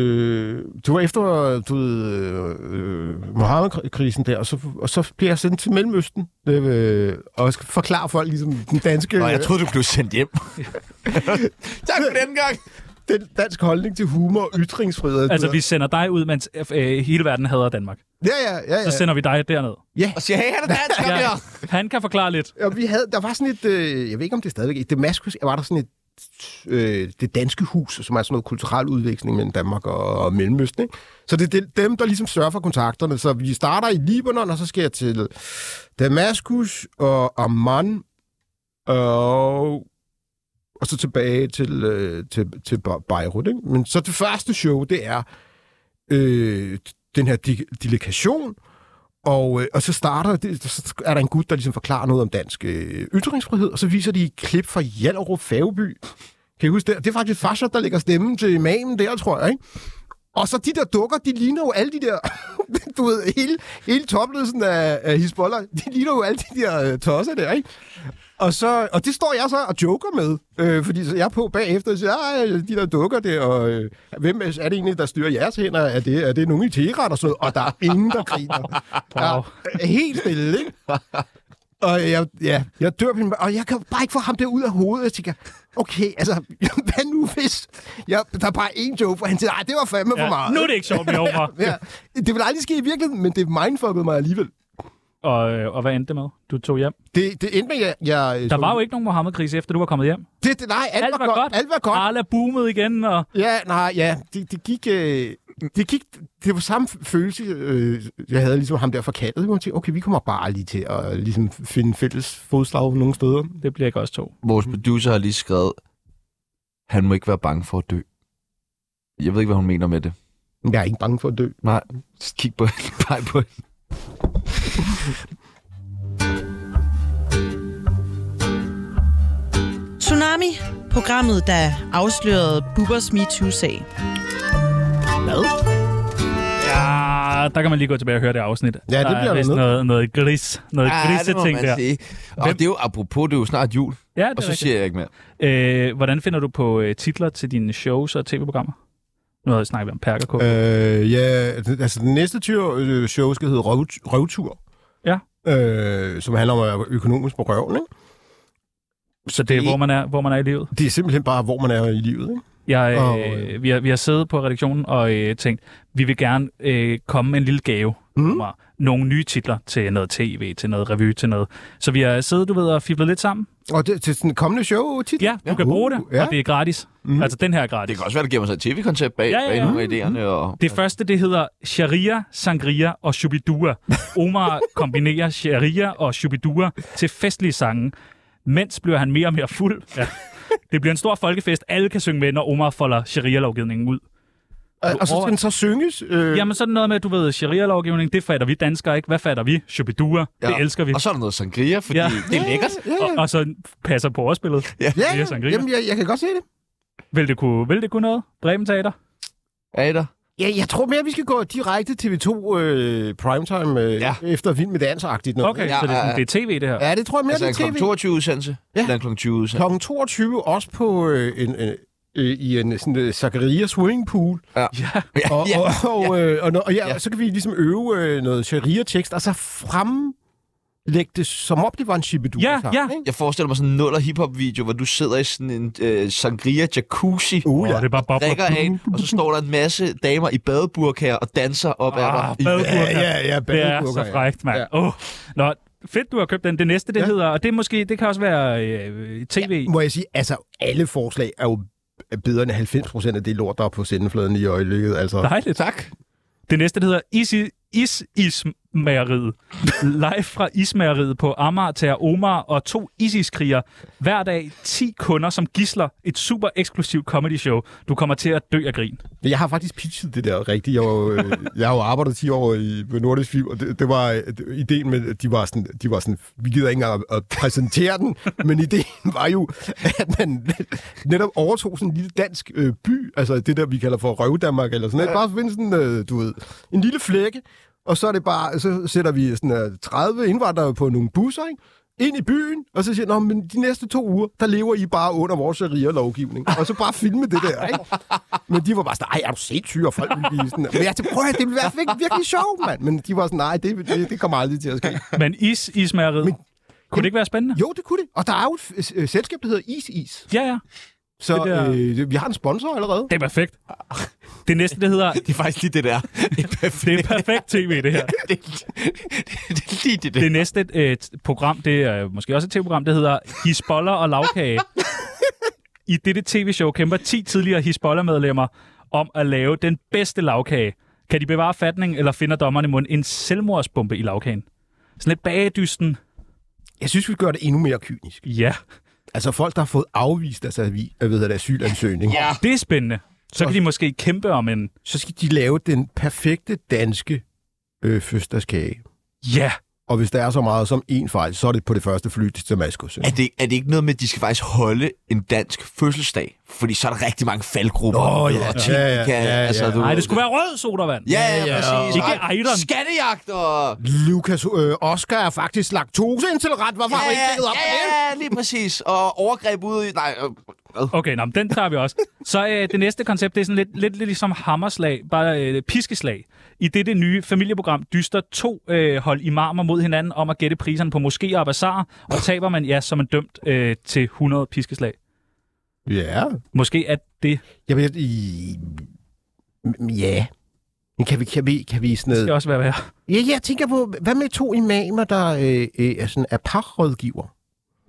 S3: øh, det var efter du ved, øh, øh, Mohammed-krisen der, og så, og så blev jeg sendt til Mellemøsten. Øh, og skal forklare folk ligesom den danske...
S1: Og jeg troede, du blev sendt hjem. tak for den gang.
S3: den dansk holdning til humor og ytringsfrihed.
S4: Altså, vi sender dig ud, mens øh, hele verden hader Danmark.
S3: Ja, ja, ja. ja.
S4: Så sender vi dig derned.
S1: Og siger, hey, han er dansk, kom
S4: Ja,
S1: her.
S4: han kan forklare lidt.
S3: Og vi havde, der var sådan et, øh, jeg ved ikke om det er stadigvæk, i Damaskus var der sådan et, øh, det danske hus, som er sådan noget kulturel udveksling mellem Danmark og, og Mellemøsten. Ikke? Så det er det- dem, der ligesom sørger for kontakterne. Så vi starter i Libanon, og så skal jeg til Damaskus og Amman, og, og så tilbage til, øh, til, til Be- Beirut. Ikke? Men så det første show, det er øh, den her de- delegation, og, øh, og så starter det, så er der en gut, der ligesom forklarer noget om dansk øh, ytringsfrihed, og så viser de et klip fra Hjallerup Fageby. Kan I huske det? Det er faktisk Fasher, der lægger stemmen til imamen der, tror jeg, ikke? Og så de der dukker, de ligner jo alle de der... du ved, hele, hele topledelsen af, af Hizbollah, de ligner jo alle de der øh, tosser der, ikke? Og, så, og det står jeg så og joker med, øh, fordi så jeg er på bagefter og siger, "Ej, de der dukker der, og øh, hvem er det egentlig, der styrer jeres hænder? Er det, er det nogen i Teheran og sådan noget? Og der er ingen, der griner. Ja, helt stille, ikke? Og jeg, ja, jeg dør på min- og jeg kan bare ikke få ham der ud af hovedet. Jeg tænker, okay, altså, hvad nu hvis... Jeg, der er bare en joke, hvor han siger, nej, det var fandme
S4: Ja,
S3: for meget.
S4: nu er det ikke sjovt med humor.
S3: Ja, det vil aldrig ske i virkeligheden, men det mindfuckede mig alligevel.
S4: Og, øh, og hvad endte det med? Du tog hjem.
S3: Det, det endte med, at jeg... jeg
S4: Der var jo ikke nogen Mohammed-krise, efter du var kommet hjem.
S3: Det, det, nej, alt, alt var, godt. Alt var godt.
S4: Arla boomede igen, og
S3: Ja, nej, ja. Det, det gik... Øh, det gik... Det var samme følelse, øh, jeg havde ligesom ham der for kaldet. hvor Jeg tænkte, okay, vi kommer bare lige til at ligesom, finde fælles fodslag nogle steder.
S4: det bliver ikke også to.
S1: Vores
S3: Mm.
S1: producer har lige skrevet, han må ikke være bange for at dø. Jeg ved ikke, hvad hun mener med det.
S3: Jeg er ikke bange for at dø.
S1: Nej, Just kig på hende. Pej på hende.
S8: Tsunami
S12: programmet, der afslørede Bubbers MeToo-sag. Hvad?
S4: Ja, der kan man lige gå tilbage og høre det afsnit.
S1: Ja, det
S4: der
S1: bliver
S4: er
S1: man
S4: vist
S1: nødt til.
S4: noget, noget gris, noget
S1: Ah,
S4: ah,
S1: det må
S4: griseting
S1: man
S4: der.
S1: sige. Og det er jo apropos, det er jo snart jul.
S4: Ja, det er
S1: og så
S4: rigtigt.
S1: siger jeg ikke mere.
S4: Øh, hvordan finder du på øh, titler til dine shows og tv-programmer? Nu havde snakket om Perker K.
S3: Øh, ja, altså den næste tyr, øh, show skal hedde Røv, Røvtur.
S4: Ja.
S3: Øh, som handler om at være økonomisk på røven, ikke?
S4: Så det er, hvor man er, hvor man er i livet?
S3: Det er simpelthen bare, hvor man er i livet, ikke?
S4: Jeg,
S3: Og,
S4: øh, vi, har, vi har siddet på redaktionen og øh, tænkt, vi vil gerne øh, komme med en lille gave. Mm. Nogle nye titler til noget tv, til noget revy, til noget. Så vi har siddet, du ved, og fiblet lidt sammen.
S3: Og det, til sådan en kommende show titel?
S4: Ja, du ja. kan bruge det,
S1: ja.
S4: og det er gratis. Mm. Altså, den her er gratis.
S1: Det kan også være, der giver mig sig et tv-koncept bag,
S4: Ja,
S1: ja, ja,
S4: ja,
S1: bag
S4: ja. Mm.
S1: nogle af idéerne. Og...
S4: Det første, det hedder Sharia, Sangria og Shubidua. Omar kombinerer Sharia og Shubidua til festlige sange. Mens bliver han mere og mere fuld. Ja. Det bliver en stor folkefest. Alle kan synge med, når Omar folder Sharia-lovgivningen ud.
S3: Og, og så skal den så synges? Øh,
S4: Jamen sådan noget med, du ved, sharia-lovgivning, det fatter vi danskere ikke. Hvad fatter vi? Shubidua, ja. det
S1: Ja.
S4: elsker vi.
S1: Og så er der noget sangria, fordi
S4: Ja.
S1: det er lækkert.
S3: Ja, ja.
S4: Og, og så passer på ordspillet.
S1: Ja,
S3: ja,
S4: Sharia
S3: ja.
S4: sangria.
S3: Jamen, jeg, jeg kan godt se det.
S4: Vil det kunne, vil det kunne noget? Bremen Teater?
S1: Teater.
S3: Ja, jeg tror mere, vi skal gå direkte TV2 øh, primetime øh, ja. efter Vild med Dans-agtigt noget.
S4: Okay, ja, så det er, sådan, det er tv, det her.
S3: Ja, det tror jeg mere,
S1: altså,
S3: det er
S1: en
S3: TV.
S1: kl. 22 udsendelse. Ja. Eller en kl. 20 udsendelse.
S3: Klokken 22 også på øh, en, en, øh, i en sådan øh, Zakaria swimming pool.
S1: Ja.
S3: Ja. Og, og, og, øh, og, når- og ja, ja. så kan vi ligesom øve øh, noget sharia-tekst, og så fremlægge det, som om det var en shibidu.
S1: Jeg forestiller mig sådan en nuller hiphop video, hvor du sidder i sådan en øh, sangria jacuzzi.
S3: Uh,
S4: ja. det er bare bobler.
S1: drikker af, en, og så står der en masse damer i badeburkaer og danser op ad
S4: Ah,
S1: dig.
S4: badeburka.
S3: ja,
S4: Det er
S1: badeburka,
S4: så
S1: ja.
S4: frækt, mand. Ja. Oh. Nå, fedt, du har købt den. Det næste, det ja. hedder, og det, er måske, det kan også være øh, tv.
S3: Må jeg sige, altså alle forslag er jo bedre end 90 procent af det lort, der er på sendefladen i øjeblikket. Altså.
S4: Dejligt.
S1: Tak.
S4: Det næste, det hedder Isi, Is Ismageriet. Live fra Ismageriet på Amager tager Omar og to ISIS-kriger hver dag 10 kunder som gisler et super eksklusivt comedy show. Du kommer til at dø af grin.
S3: Men Jeg har faktisk pitchet det der rigtigt. Jeg, var, øh, jeg har jo arbejdet 10 år i på Nordisk Film, og det, det var øh, det- ideen med, at de var sådan, de var sådan vi gider ikke engang at, at præsentere den, men ideen var jo, at man netop overtog sådan en lille dansk øh, by, altså det der, vi kalder for Røvdanmark eller sådan noget. Bare finde sådan, øh, du ved, en lille flække, og så er det bare, så sætter vi sådan øh, 30 indvandrere på nogle busser, ikke? ind i byen, og så siger jeg, men de næste to uger, der lever I bare under vores sharia-lovgivning. Og så bare filme det der, ikke? Men de var bare sådan, ej, er du sindssyg, og folk ville blive sådan. Men jeg tænkte, prøv at høre, det ville være virkelig, virkelig sjovt, mand. Men de var sådan, nej, det, det, det kommer aldrig til at ske.
S4: Men is, ismageriet. Men, kunne det ikke være spændende?
S3: Jo, det kunne det. Og der er jo et øh, øh, selskab, der hedder Is Is.
S4: Ja, ja.
S3: Så
S4: Det der-
S3: øh, det- vi har en sponsor allerede.
S4: Det er perfekt. Det næste, det hedder... Det
S1: er faktisk lige det der. Det er perfekt,
S4: det er perfekt tv, det her.
S1: det, det er lige det der.
S4: Det næste øh, t- program, det er måske også et tv-program, det hedder Hisboller og lavkage. I dette tv-show kæmper 10 tidligere Hisboller-medlemmer om at lave den bedste lavkage. Kan de bevare fatning, eller finder dommerne mund en selvmordsbombe i lavkagen? Sådan lidt bagedysten.
S3: Jeg synes, vi gør det endnu mere kynisk.
S4: Ja.
S3: Altså folk, der har fået afvist deres avi, øh, hvad hedder det, asylansøgning.
S4: ja. Det er spændende. Så kan de måske kæmpe om en...
S3: Så skal de lave den perfekte danske øh, fødselsdagskage.
S4: Ja.
S3: Og hvis der er så meget som en fejl, så er det på det første fly til Damaskus. ikke?
S1: Er det, er det ikke noget med, at de skal faktisk holde en dansk fødselsdag? Fordi så er der rigtig mange faldgrupper.
S3: Nå, ja.
S1: og ting,
S3: Ja, ja,
S1: de kan,
S3: ja, ja.
S1: Altså, du,
S4: Nej, det skulle være rød sodavand.
S1: Ja, ja, præcis.
S4: Ikke
S1: Ej,
S4: Ejderen.
S1: Skattejagt og...
S3: Lukas øh, Oscar er faktisk laktoseintolerant. Hvorfor har
S1: Ja,
S3: vi ikke dækket op på det?
S1: ja, ja, lige præcis. Og overgreb ude i... Nej, øh, hvad?
S4: Okay, nå, men den tager vi også. Så øh, det næste koncept, det er sådan lidt, lidt, lidt ligesom hammerslag, bare øh, piskeslag. I dette nye familieprogram dyster to øh, hold imamer mod hinanden om at gætte priserne på moskéer og bazarer, og taber man, ja, som man dømt øh, til 100 piskeslag.
S3: Ja.
S4: Måske at det
S3: Jamen, jeg, i, m- ja. Men kan vi, kan vi, kan vi sådan
S4: skal
S3: noget...
S4: også være værd.
S3: Ja, jeg tænker på, hvad med to imamer, der øh, øh, er, sådan, er parrådgiver?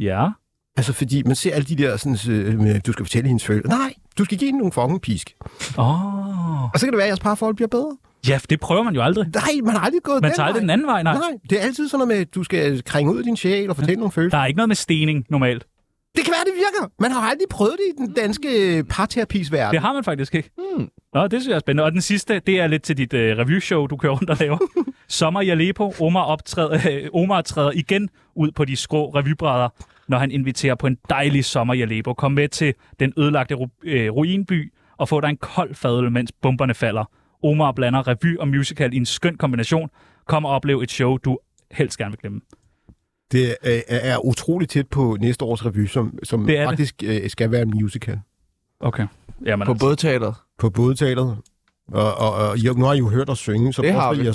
S4: Ja.
S3: Altså, fordi man ser alle de der sådan, øh, med, du skal fortælle hendes følelser. Nej, du skal give hende nogle fucking pisk.
S4: Oh.
S3: Og så kan det være, at jeres parforhold bliver bedre.
S4: Ja, for det prøver man jo aldrig.
S3: Nej, man har aldrig gået
S4: Man
S3: den
S4: tager aldrig den
S3: vej.
S4: anden vej, nej.
S3: Nej, det er altid sådan noget med, at du skal kringe ud af din sjæl og fortælle nogle følelser.
S4: Der er ikke noget med stening normalt.
S3: Det kan være, det virker. Man har aldrig prøvet det i den danske øh, parterapi's verden.
S4: Det har man faktisk ikke. Hmm. Nå, det synes jeg er spændende. Og den sidste, det er lidt til dit øh, review-show, du kører rundt og laver. Sommer i Aleppo. Omar, optræder, øh, Omar træder igen ud på de skrå revybrædder når han inviterer på en dejlig sommer i Aleppo. Kom med til den ødelagte ru- øh, ruinby og få dig en kold fadøl, mens bomberne falder. Omar blander revy og musical i en skøn kombination. Kom og oplev et show, du helst gerne vil glemme.
S3: Det øh, er utroligt tæt på næste års revy, som, som
S4: Det er det.
S3: faktisk øh, skal være en musical.
S4: Okay. Jamen,
S1: På altså. både teateret?
S3: På både teateret. Og, og, og jo, nu har I jo hørt os synge, så
S1: Det har
S3: forestiller
S1: vi.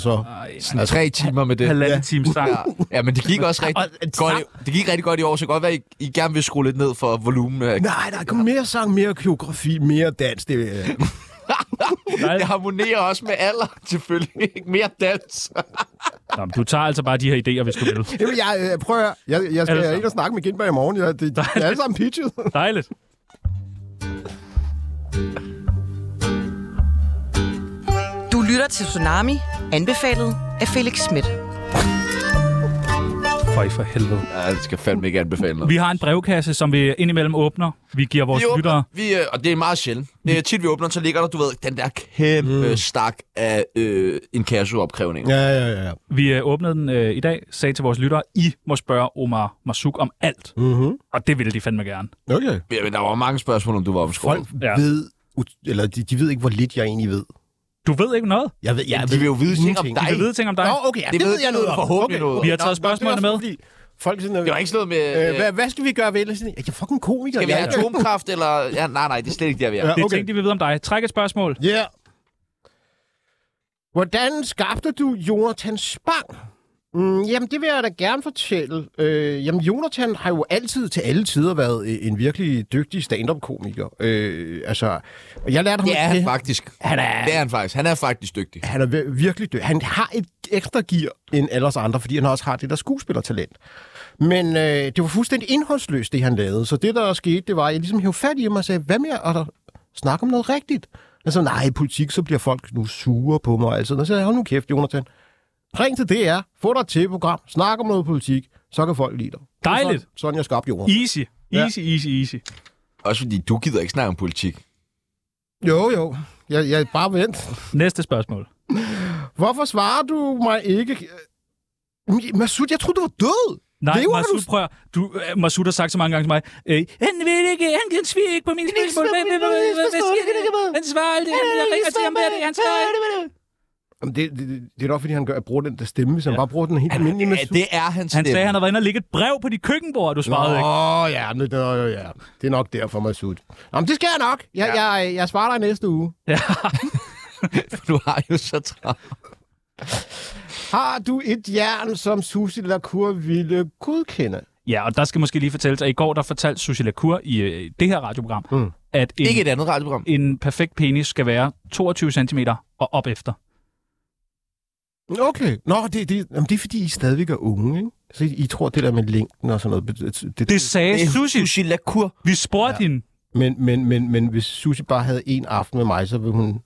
S3: jer så...
S1: Sådan tre timer med det.
S4: Halvanden time sang.
S1: Ja. ja, men det gik også rigtig godt, i- det gik rigtig godt i år, så det kan godt være, at I, I gerne vil skrue lidt ned for volumen. Af,
S3: Nej, der er kun mere sang, mere koreografi, mere dans. Det, øh,
S1: det harmonerer også med alder, selvfølgelig. Ikke mere dans.
S4: Nå, men du tager altså bare de her idéer, hvis du vil.
S3: Jamen, jeg, øh, prøv at høre. Jeg, jeg
S4: Alle
S3: skal
S4: sammen.
S3: ikke at snakke med Gindberg i morgen. Jeg, det, det er alle sammen pitchet.
S4: Dejligt.
S12: Du lytter til Tsunami, anbefalet af Felix Schmidt.
S4: For i for helvede.
S1: Ja, det skal fandme ikke anbefale noget.
S4: Vi har en brevkasse, som vi indimellem åbner. Vi giver vores
S1: vi åbner,
S4: lyttere...
S1: Vi, øh, og det er meget sjældent. Det er tit, vi åbner, så ligger der, du ved, den der kæmpe mm. stak af øh, en opkrævning.
S3: Ja, ja, ja.
S4: Vi øh, åbnede den øh, i dag, sagde til vores lyttere, I må spørge Omar Masuk om alt.
S3: Mm-hmm.
S4: Og det ville de fandme gerne.
S3: Okay.
S1: Ja, men der var mange spørgsmål, om du var omskåret.
S3: Folk ja. ved... ut- Eller de, de ved ikke, hvor lidt jeg egentlig ved.
S4: Du ved ikke noget?
S3: Jeg ved, jeg
S1: Jamen, de vil jo vide ting om
S3: ingenting.
S1: dig.
S4: Vi ved ting om dig.
S3: Nå, okay, ja, det, det ved jeg noget om.
S1: Forhåbentlig
S3: okay.
S1: noget.
S4: Vi har taget spørgsmålene med.
S3: Folk sådan,
S1: Det var ikke sådan noget med...
S3: Øh, hvad, hvad skal vi gøre ved det? Sådan, Jeg er fucking komiker.
S1: Skal vi have
S3: jeg, er-
S1: atomkraft, eller... Ja, nej, nej, det er slet ikke der, vi er.
S3: Ja.
S4: Det er
S3: okay.
S4: ting, de vil vide om dig. Træk et spørgsmål.
S3: Ja. Yeah. Hvordan skabte du Jonathan Spang? Mm, jamen, det vil jeg da gerne fortælle. Øh, jamen, Jonathan har jo altid til alle tider været øh, en virkelig dygtig stand-up-komiker. Øh, altså, og jeg lærte ham...
S1: Det er han
S3: det-
S1: faktisk.
S3: Han er-
S1: Det er han faktisk. Han er faktisk dygtig.
S3: han er vir- virkelig dygtig. Han har et ekstra gear end alle os andre, fordi han også har det der skuespillertalent. Men øh, det var fuldstændig indholdsløst, det han lavede. Så det, der skete, det var, at jeg ligesom hævde fat i ham og sagde, hvad med at snakke om noget rigtigt? Altså, nej, i politik, så bliver folk nu sure på mig. og alt sådan. Og så sagde jeg, hold nu kæft, Jonathan. Ring til DR, få dig til program, snak om noget politik, så kan folk lide dig. Det er
S4: Dejligt.
S3: Sådan, sådan jeg skabte Jonathan.
S4: Easy. Easy, easy, easy.
S1: Også fordi du gider ikke snakke om politik.
S3: Jo, jo. Jeg, jeg bare vent.
S4: Næste spørgsmål.
S3: Hvorfor svarer du mig ikke? Øh, Masud, jeg troede, du var død.
S4: Nej,
S3: Lever
S4: Masud, prøv at- du, øh, Masud har sagt så mange gange til mig, øh, han vil ikke, han kan svige ikke på mine spørgsmål. Hvad- hvad- hvad- hvad- hvad sker der? Han svarer aldrig, han bliver rigtig til ham hver dag, han svarer aldrig.
S3: Jamen, det, det, det, det er nok, fordi han gør, bruger den der stemme, hvis han bare bruger den helt
S1: Han,
S3: almindelige
S1: ja, det er hans
S4: Han
S1: stemme.
S4: sagde, han havde været inde og lægge et brev på dit køkkenbord, og du svarede ikke.
S3: Åh, oh, ja, det, det, det, ja. det er nok derfor, Masud. Jamen, det skal jeg nok. Jeg, ja. jeg, jeg svarer dig næste uge.
S1: Du har jo så travlt.
S3: Har du et jern, som Susi Lacour ville godkende?
S4: Ja, og der skal måske lige fortælles, at i går der fortalte Susie Lacour i øh, det her radioprogram,
S3: Mm.
S4: at en,
S1: Ikke et andet radioprogram.
S4: en perfekt penis skal være 22 cm og op efter.
S3: Okay. Nå, det, det, jamen, det er, fordi I stadigvæk er unge, ikke? Så I, I tror, det der med længden og sådan noget... bet- Det, det,
S4: Det sagde
S1: Det er
S4: Susie.
S1: Sushi Lacour.
S4: Vi spurgte ja. hende.
S3: Men, men, men, men hvis Susi bare havde en aften med mig, så ville hun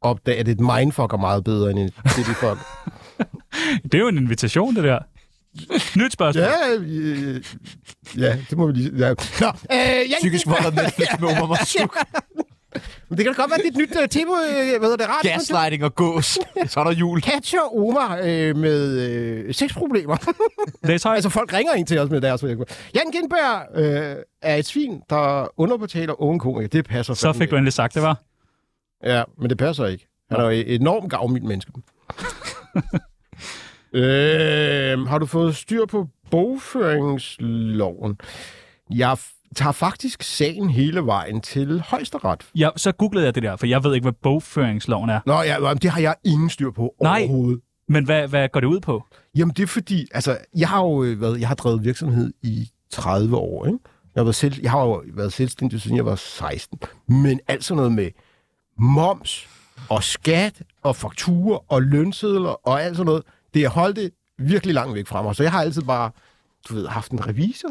S3: opdage, at et mindfuck er meget bedre end et cityfuck.
S4: Det er jo en invitation, det der. Nyt spørgsmål.
S3: ja, øh, ja, det må vi lige... Ja. Nå, øh, jeg,
S1: Psykisk vold og Netflix med Omar Masuk.
S3: Men Det kan da godt være, at det er et nyt uh, tv, uh, hvad hedder det, radio.
S1: Gaslighting og gås. Så er der jul.
S3: Katja og Omar øh, med øh, sexproblemer.
S4: Læs højt.
S3: altså, folk ringer ind til os med deres problemer. Jan Gindberg øh, er et svin, der underbetaler unge komikere. Det passer
S4: Så
S3: fandme
S4: fik du endelig sagt det, var.
S3: ikke. Ja, men det passer ikke. Han er jo et enormt gavmild menneske. øh, har du fået styr på bogføringsloven? Jeg f- tager faktisk sagen hele vejen til højesteret.
S4: Ja, så googlede jeg det der, for jeg ved ikke, hvad bogføringsloven er.
S3: Nå ja, jamen, det har jeg ingen styr på
S4: Nej.
S3: overhovedet.
S4: Men hvad, hvad går det ud på?
S3: Jamen det er fordi, altså jeg har jo øh, været, jeg har drevet virksomhed i 30 år, ikke? Jeg har, været selv, jeg har jo været selvstændig, siden jeg var 16. Men alt sådan noget med moms og skat og fakturer og lønsedler og alt sådan noget, det har holdt det virkelig langt væk fra mig. Så jeg har altid bare, du ved, haft en revisor,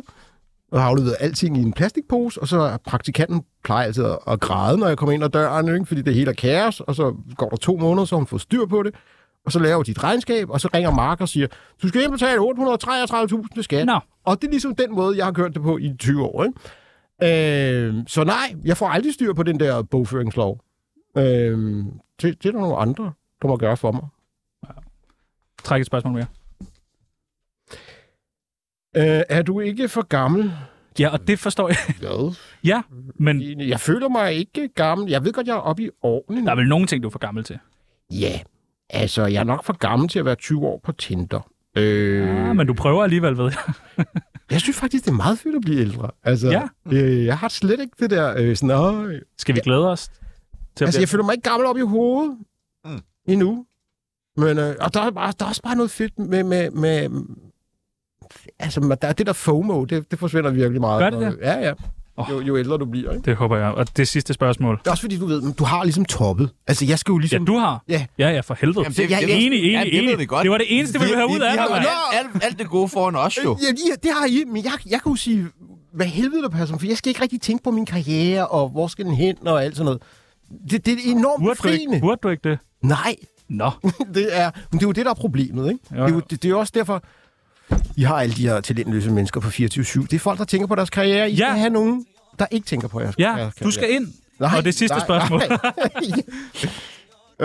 S3: og har afleveret alting i en plastikpose, og så er praktikanten plejer altid at- at græde, når jeg kommer ind ad døren, ikke? fordi det hele er kaos, og så går der to måneder, så har hun får styr på det, og så laver de et regnskab, og så ringer Mark og siger, du skal indbetale 833.000 til skat.
S4: Nå.
S3: Og det er ligesom den måde, jeg har kørt det på i 20 år. Ikke? Øh, så nej, jeg får aldrig styr på den der bogføringslov. Øh, det, det er der nogle andre, der må gøre for mig.
S4: Træk et spørgsmål mere.
S3: Øh, er du ikke for gammel?
S4: Ja, og det forstår jeg.
S3: Hvad?
S4: Ja, men...
S3: Jeg føler mig ikke gammel. Jeg ved godt, jeg er oppe i årene.
S4: Der er vel nogle ting, du er for gammel til.
S3: Ja, altså, jeg er nok for gammel til at være 20 år på Tinder. Øh,
S4: Ja, Ah, men du prøver alligevel, ved jeg.
S3: Jeg synes faktisk, det er meget fedt at blive ældre. Altså,
S4: Ja.
S3: øh, jeg har slet ikke det der... Øh, sådan, øh.
S4: Skal vi glæde os? Til
S3: Altså,
S4: blive-
S3: jeg føler mig ikke gammel op i hovedet mm. endnu. Men, øh, og der er, bare, der er også bare noget fedt med... med, med altså, man- der er det der FOMO, det, det forsvinder virkelig meget.
S4: Gør det det?
S3: Og- Ja, ja. Jo, jo ældre du bliver, ikke?
S4: Det håber jeg. Og det sidste spørgsmål.
S3: Det er også fordi, du ved, men du har ligesom toppet. Altså, jeg skal jo ligesom...
S4: Ja, du har.
S3: Ja.
S4: Ja, ja, for helvede.
S1: Jamen, det,
S4: jeg,
S1: det-
S4: enig, enig,
S1: Jamen, det
S4: enig.
S1: ved vi godt.
S4: det var det eneste, vi ville have ud
S1: vi
S4: af dig,
S1: har
S4: mand.
S1: jo alt, alt det gode foran os, jo.
S3: Ja, ja, det har I, men jeg, jeg kan jo sige, hvad helvede der passer mig, for jeg skal ikke rigtig tænke på min karriere, og hvor skal den hen, og alt sådan noget. Det, det er enormt
S4: Burde du, ikke,
S3: befriende.
S4: burde du ikke det?
S3: Nej,
S4: Nå.
S3: det er, men det er jo det, der er problemet, ikke? Det, er jo, det, det er jo også derfor, I har alle de her talentløse mennesker på 24-7. Det er folk, der tænker på deres karriere. I
S4: Ja.
S3: ja. skal have nogen, der ikke tænker på jeres
S4: Ja,
S3: jeres karriere.
S4: du skal ind. Og det sidste
S3: nej,
S4: spørgsmål.
S3: Nej.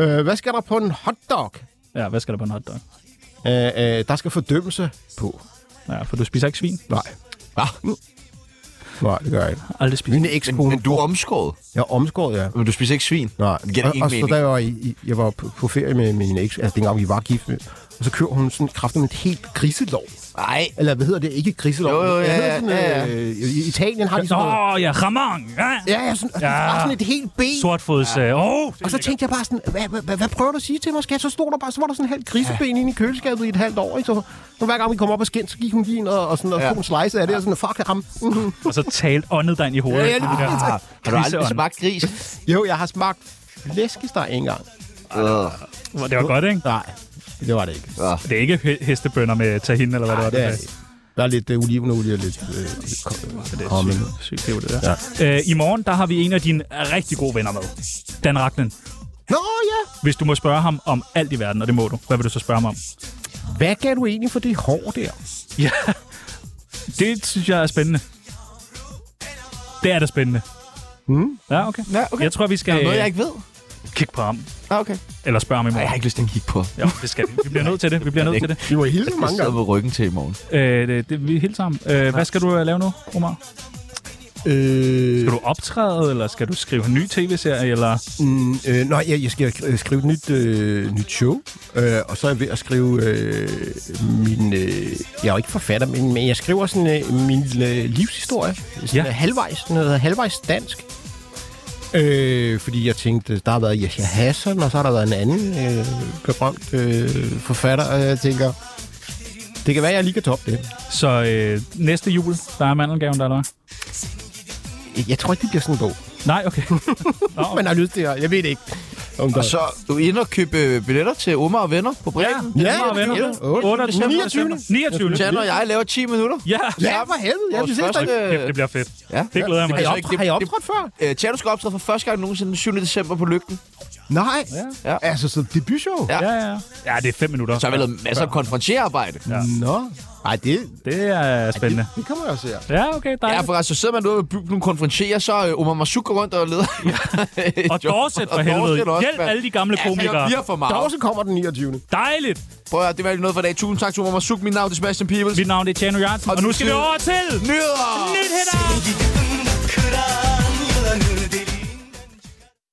S3: øh, hvad skal der på en hotdog?
S4: Ja, hvad skal der på en hotdog?
S3: Øh, øh, der skal fordømmelse på.
S4: Ja, for du spiser ikke svin.
S3: Nej.
S1: Hva?
S3: Nej, det gør jeg ikke.
S4: Aldrig spist.
S3: Min ekskone.
S1: Men du er omskåret.
S3: Jeg er omskåret, ja.
S1: Men du spiser ikke svin.
S3: Nej,
S1: Det giver
S3: og,
S1: ingen
S3: og så
S1: mening.
S3: da jeg var, i- i, jeg var på, på ferie med min eks, altså dengang vi var gift, med, og så kører hun sådan kraften et helt griselov.
S1: Nej.
S3: Eller hvad hedder det? Ikke griselov.
S1: Jo, jo,
S3: men det
S1: ja,
S3: hedder
S1: ja,
S3: sådan, øh, I Italien har de sådan noget.
S4: Åh, ja, ramang. Ja.
S3: Ja, ja, sådan,
S4: Ja.
S3: ja. sådan et helt ben.
S4: Sortfods. øh, Åh,
S3: Og så tænkte jeg bare sådan, hvad, hvad, hvad, hvad prøver du at sige til mig, skat? Så stod der bare, så var der sådan en halv griseben ja. inde i køleskabet i et halvt år, ikke? Så, så hver gang vi kom op og skændte, så gik hun lige ind og, og, sådan, og
S1: Ja.
S3: ja. tog en slice af det, og sådan, fuck ham. Mhm.
S4: Og så talte åndet dig ind i hovedet.
S1: Ja, ja, lige præcis.
S4: Ah,
S1: Har du aldrig
S4: griseånd.
S1: smagt gris?
S3: jo, jeg har smagt flæskesteg engang.
S1: Øh,
S4: Det var godt, ikke?
S3: Nej, det var det ikke.
S4: Det er ikke he- hestebønder med tahin, eller hvad det var,
S3: Det
S4: det
S3: er,
S4: var.
S3: der er lidt øh, olivenolie og lidt øh, kom- kommen.
S4: Sygt, det var det der. Øh, I morgen, der har vi en af dine rigtig gode venner med. Dan Ragnen.
S3: Nå ja!
S4: Hvis du må spørge ham om alt i verden, og det må du, hvad vil du så spørge ham om?
S3: Hvad gav du egentlig for det hår der?
S4: Ja, det synes jeg er spændende. Det er da spændende.
S3: Mm.
S4: Ja, okay.
S1: Ja, okay.
S4: Jeg tror, vi skal
S1: noget, jeg ikke ved.
S4: kigge på ham.
S1: Ah, okay.
S4: Eller spørge ham i
S1: Ej, jeg
S4: morgen.
S1: har ikke lyst til at kigge på.
S4: Ja, det skal vi. Vi bliver nødt til det. Vi bliver nødt til det.
S3: Vi må hilse
S1: Jeg
S3: mange
S1: sidder
S3: gange.
S1: med ryggen til i morgen.
S4: Øh, det, det vi er helt sammen. Øh, hvad skal du øh, lave nu, Omar?
S3: Øh,
S4: Skal du optræde, eller skal du skrive en ny tv-serie, eller...
S3: mm, øh, nej, jeg, jeg skal øh, skrive et nyt, øh, nyt show, øh, og så er jeg ved at skrive øh, min... Øh, jeg er jo ikke forfatter, men, men jeg skriver sådan øh, min øh, livshistorie. Sådan
S4: Ja.
S3: ja. halvvejs, sådan noget, halvvejs dansk. Øh, fordi jeg tænkte, der har været Yahya Hassan, og så har der været en anden øh, berømt øh, forfatter, og jeg tænker, det kan være, jeg lige kan toppe det.
S4: Så øh, næste jul, der er mandelgaven, der er der.
S3: Jeg tror ikke, det bliver sådan en bog.
S4: Nej, okay. Nå,
S3: Man har lyst til at... Jeg ved det ikke. Om
S1: Og så du er inde og købe øh, billetter til Omar og venner på Bremen.
S3: ja,
S4: Omar og venner.
S3: ja,
S4: 8. december.
S3: 29.
S4: 29.
S1: Jan og jeg laver 10 minutter.
S4: Ja,
S3: Ja, for helvede. Jeg
S1: Vores
S3: synes ikke,
S1: første-
S3: der...
S4: Kæft, det bliver fedt.
S1: Ja.
S4: Det glæder jeg mig
S3: øh, Har I
S4: til.
S1: altså ikke- det-
S3: optrådt- Har I
S1: det-
S3: optrådt før?
S1: Øh, Tjerno skal optræde for første gang nogensinde den 7. december på Lygten.
S3: Nej.
S1: Ja.
S3: Altså, så debutshow?
S1: Ja.
S4: Ja, ja. Ja, det er fem minutter.
S1: Så har vi lavet masser af konfronterarbejde.
S4: Ja.
S3: Nå. Ej, det...
S4: Det er spændende.
S3: Det kommer jeg også her.
S4: Ja, okay,
S1: Ja,
S4: dejligt.
S1: for altså, så sidder man ude og bygge nogle konfronterer, så øh, Omar Masuk går rundt og leder.
S4: Og Dorset for helvede. Hjælp alle de gamle komikere.
S1: Jeg for meget.
S3: Dorse kommer den 29.
S4: Dejligt.
S1: Prøv at høre, det var lige noget for i dag. Tusind tak til Omar Masuk. Mit navn er Sebastian Pibels.
S4: Mit navn er Tjerno Jørgensen, og nu skal vi over til...
S1: Nyheder!
S4: Nyt hætter!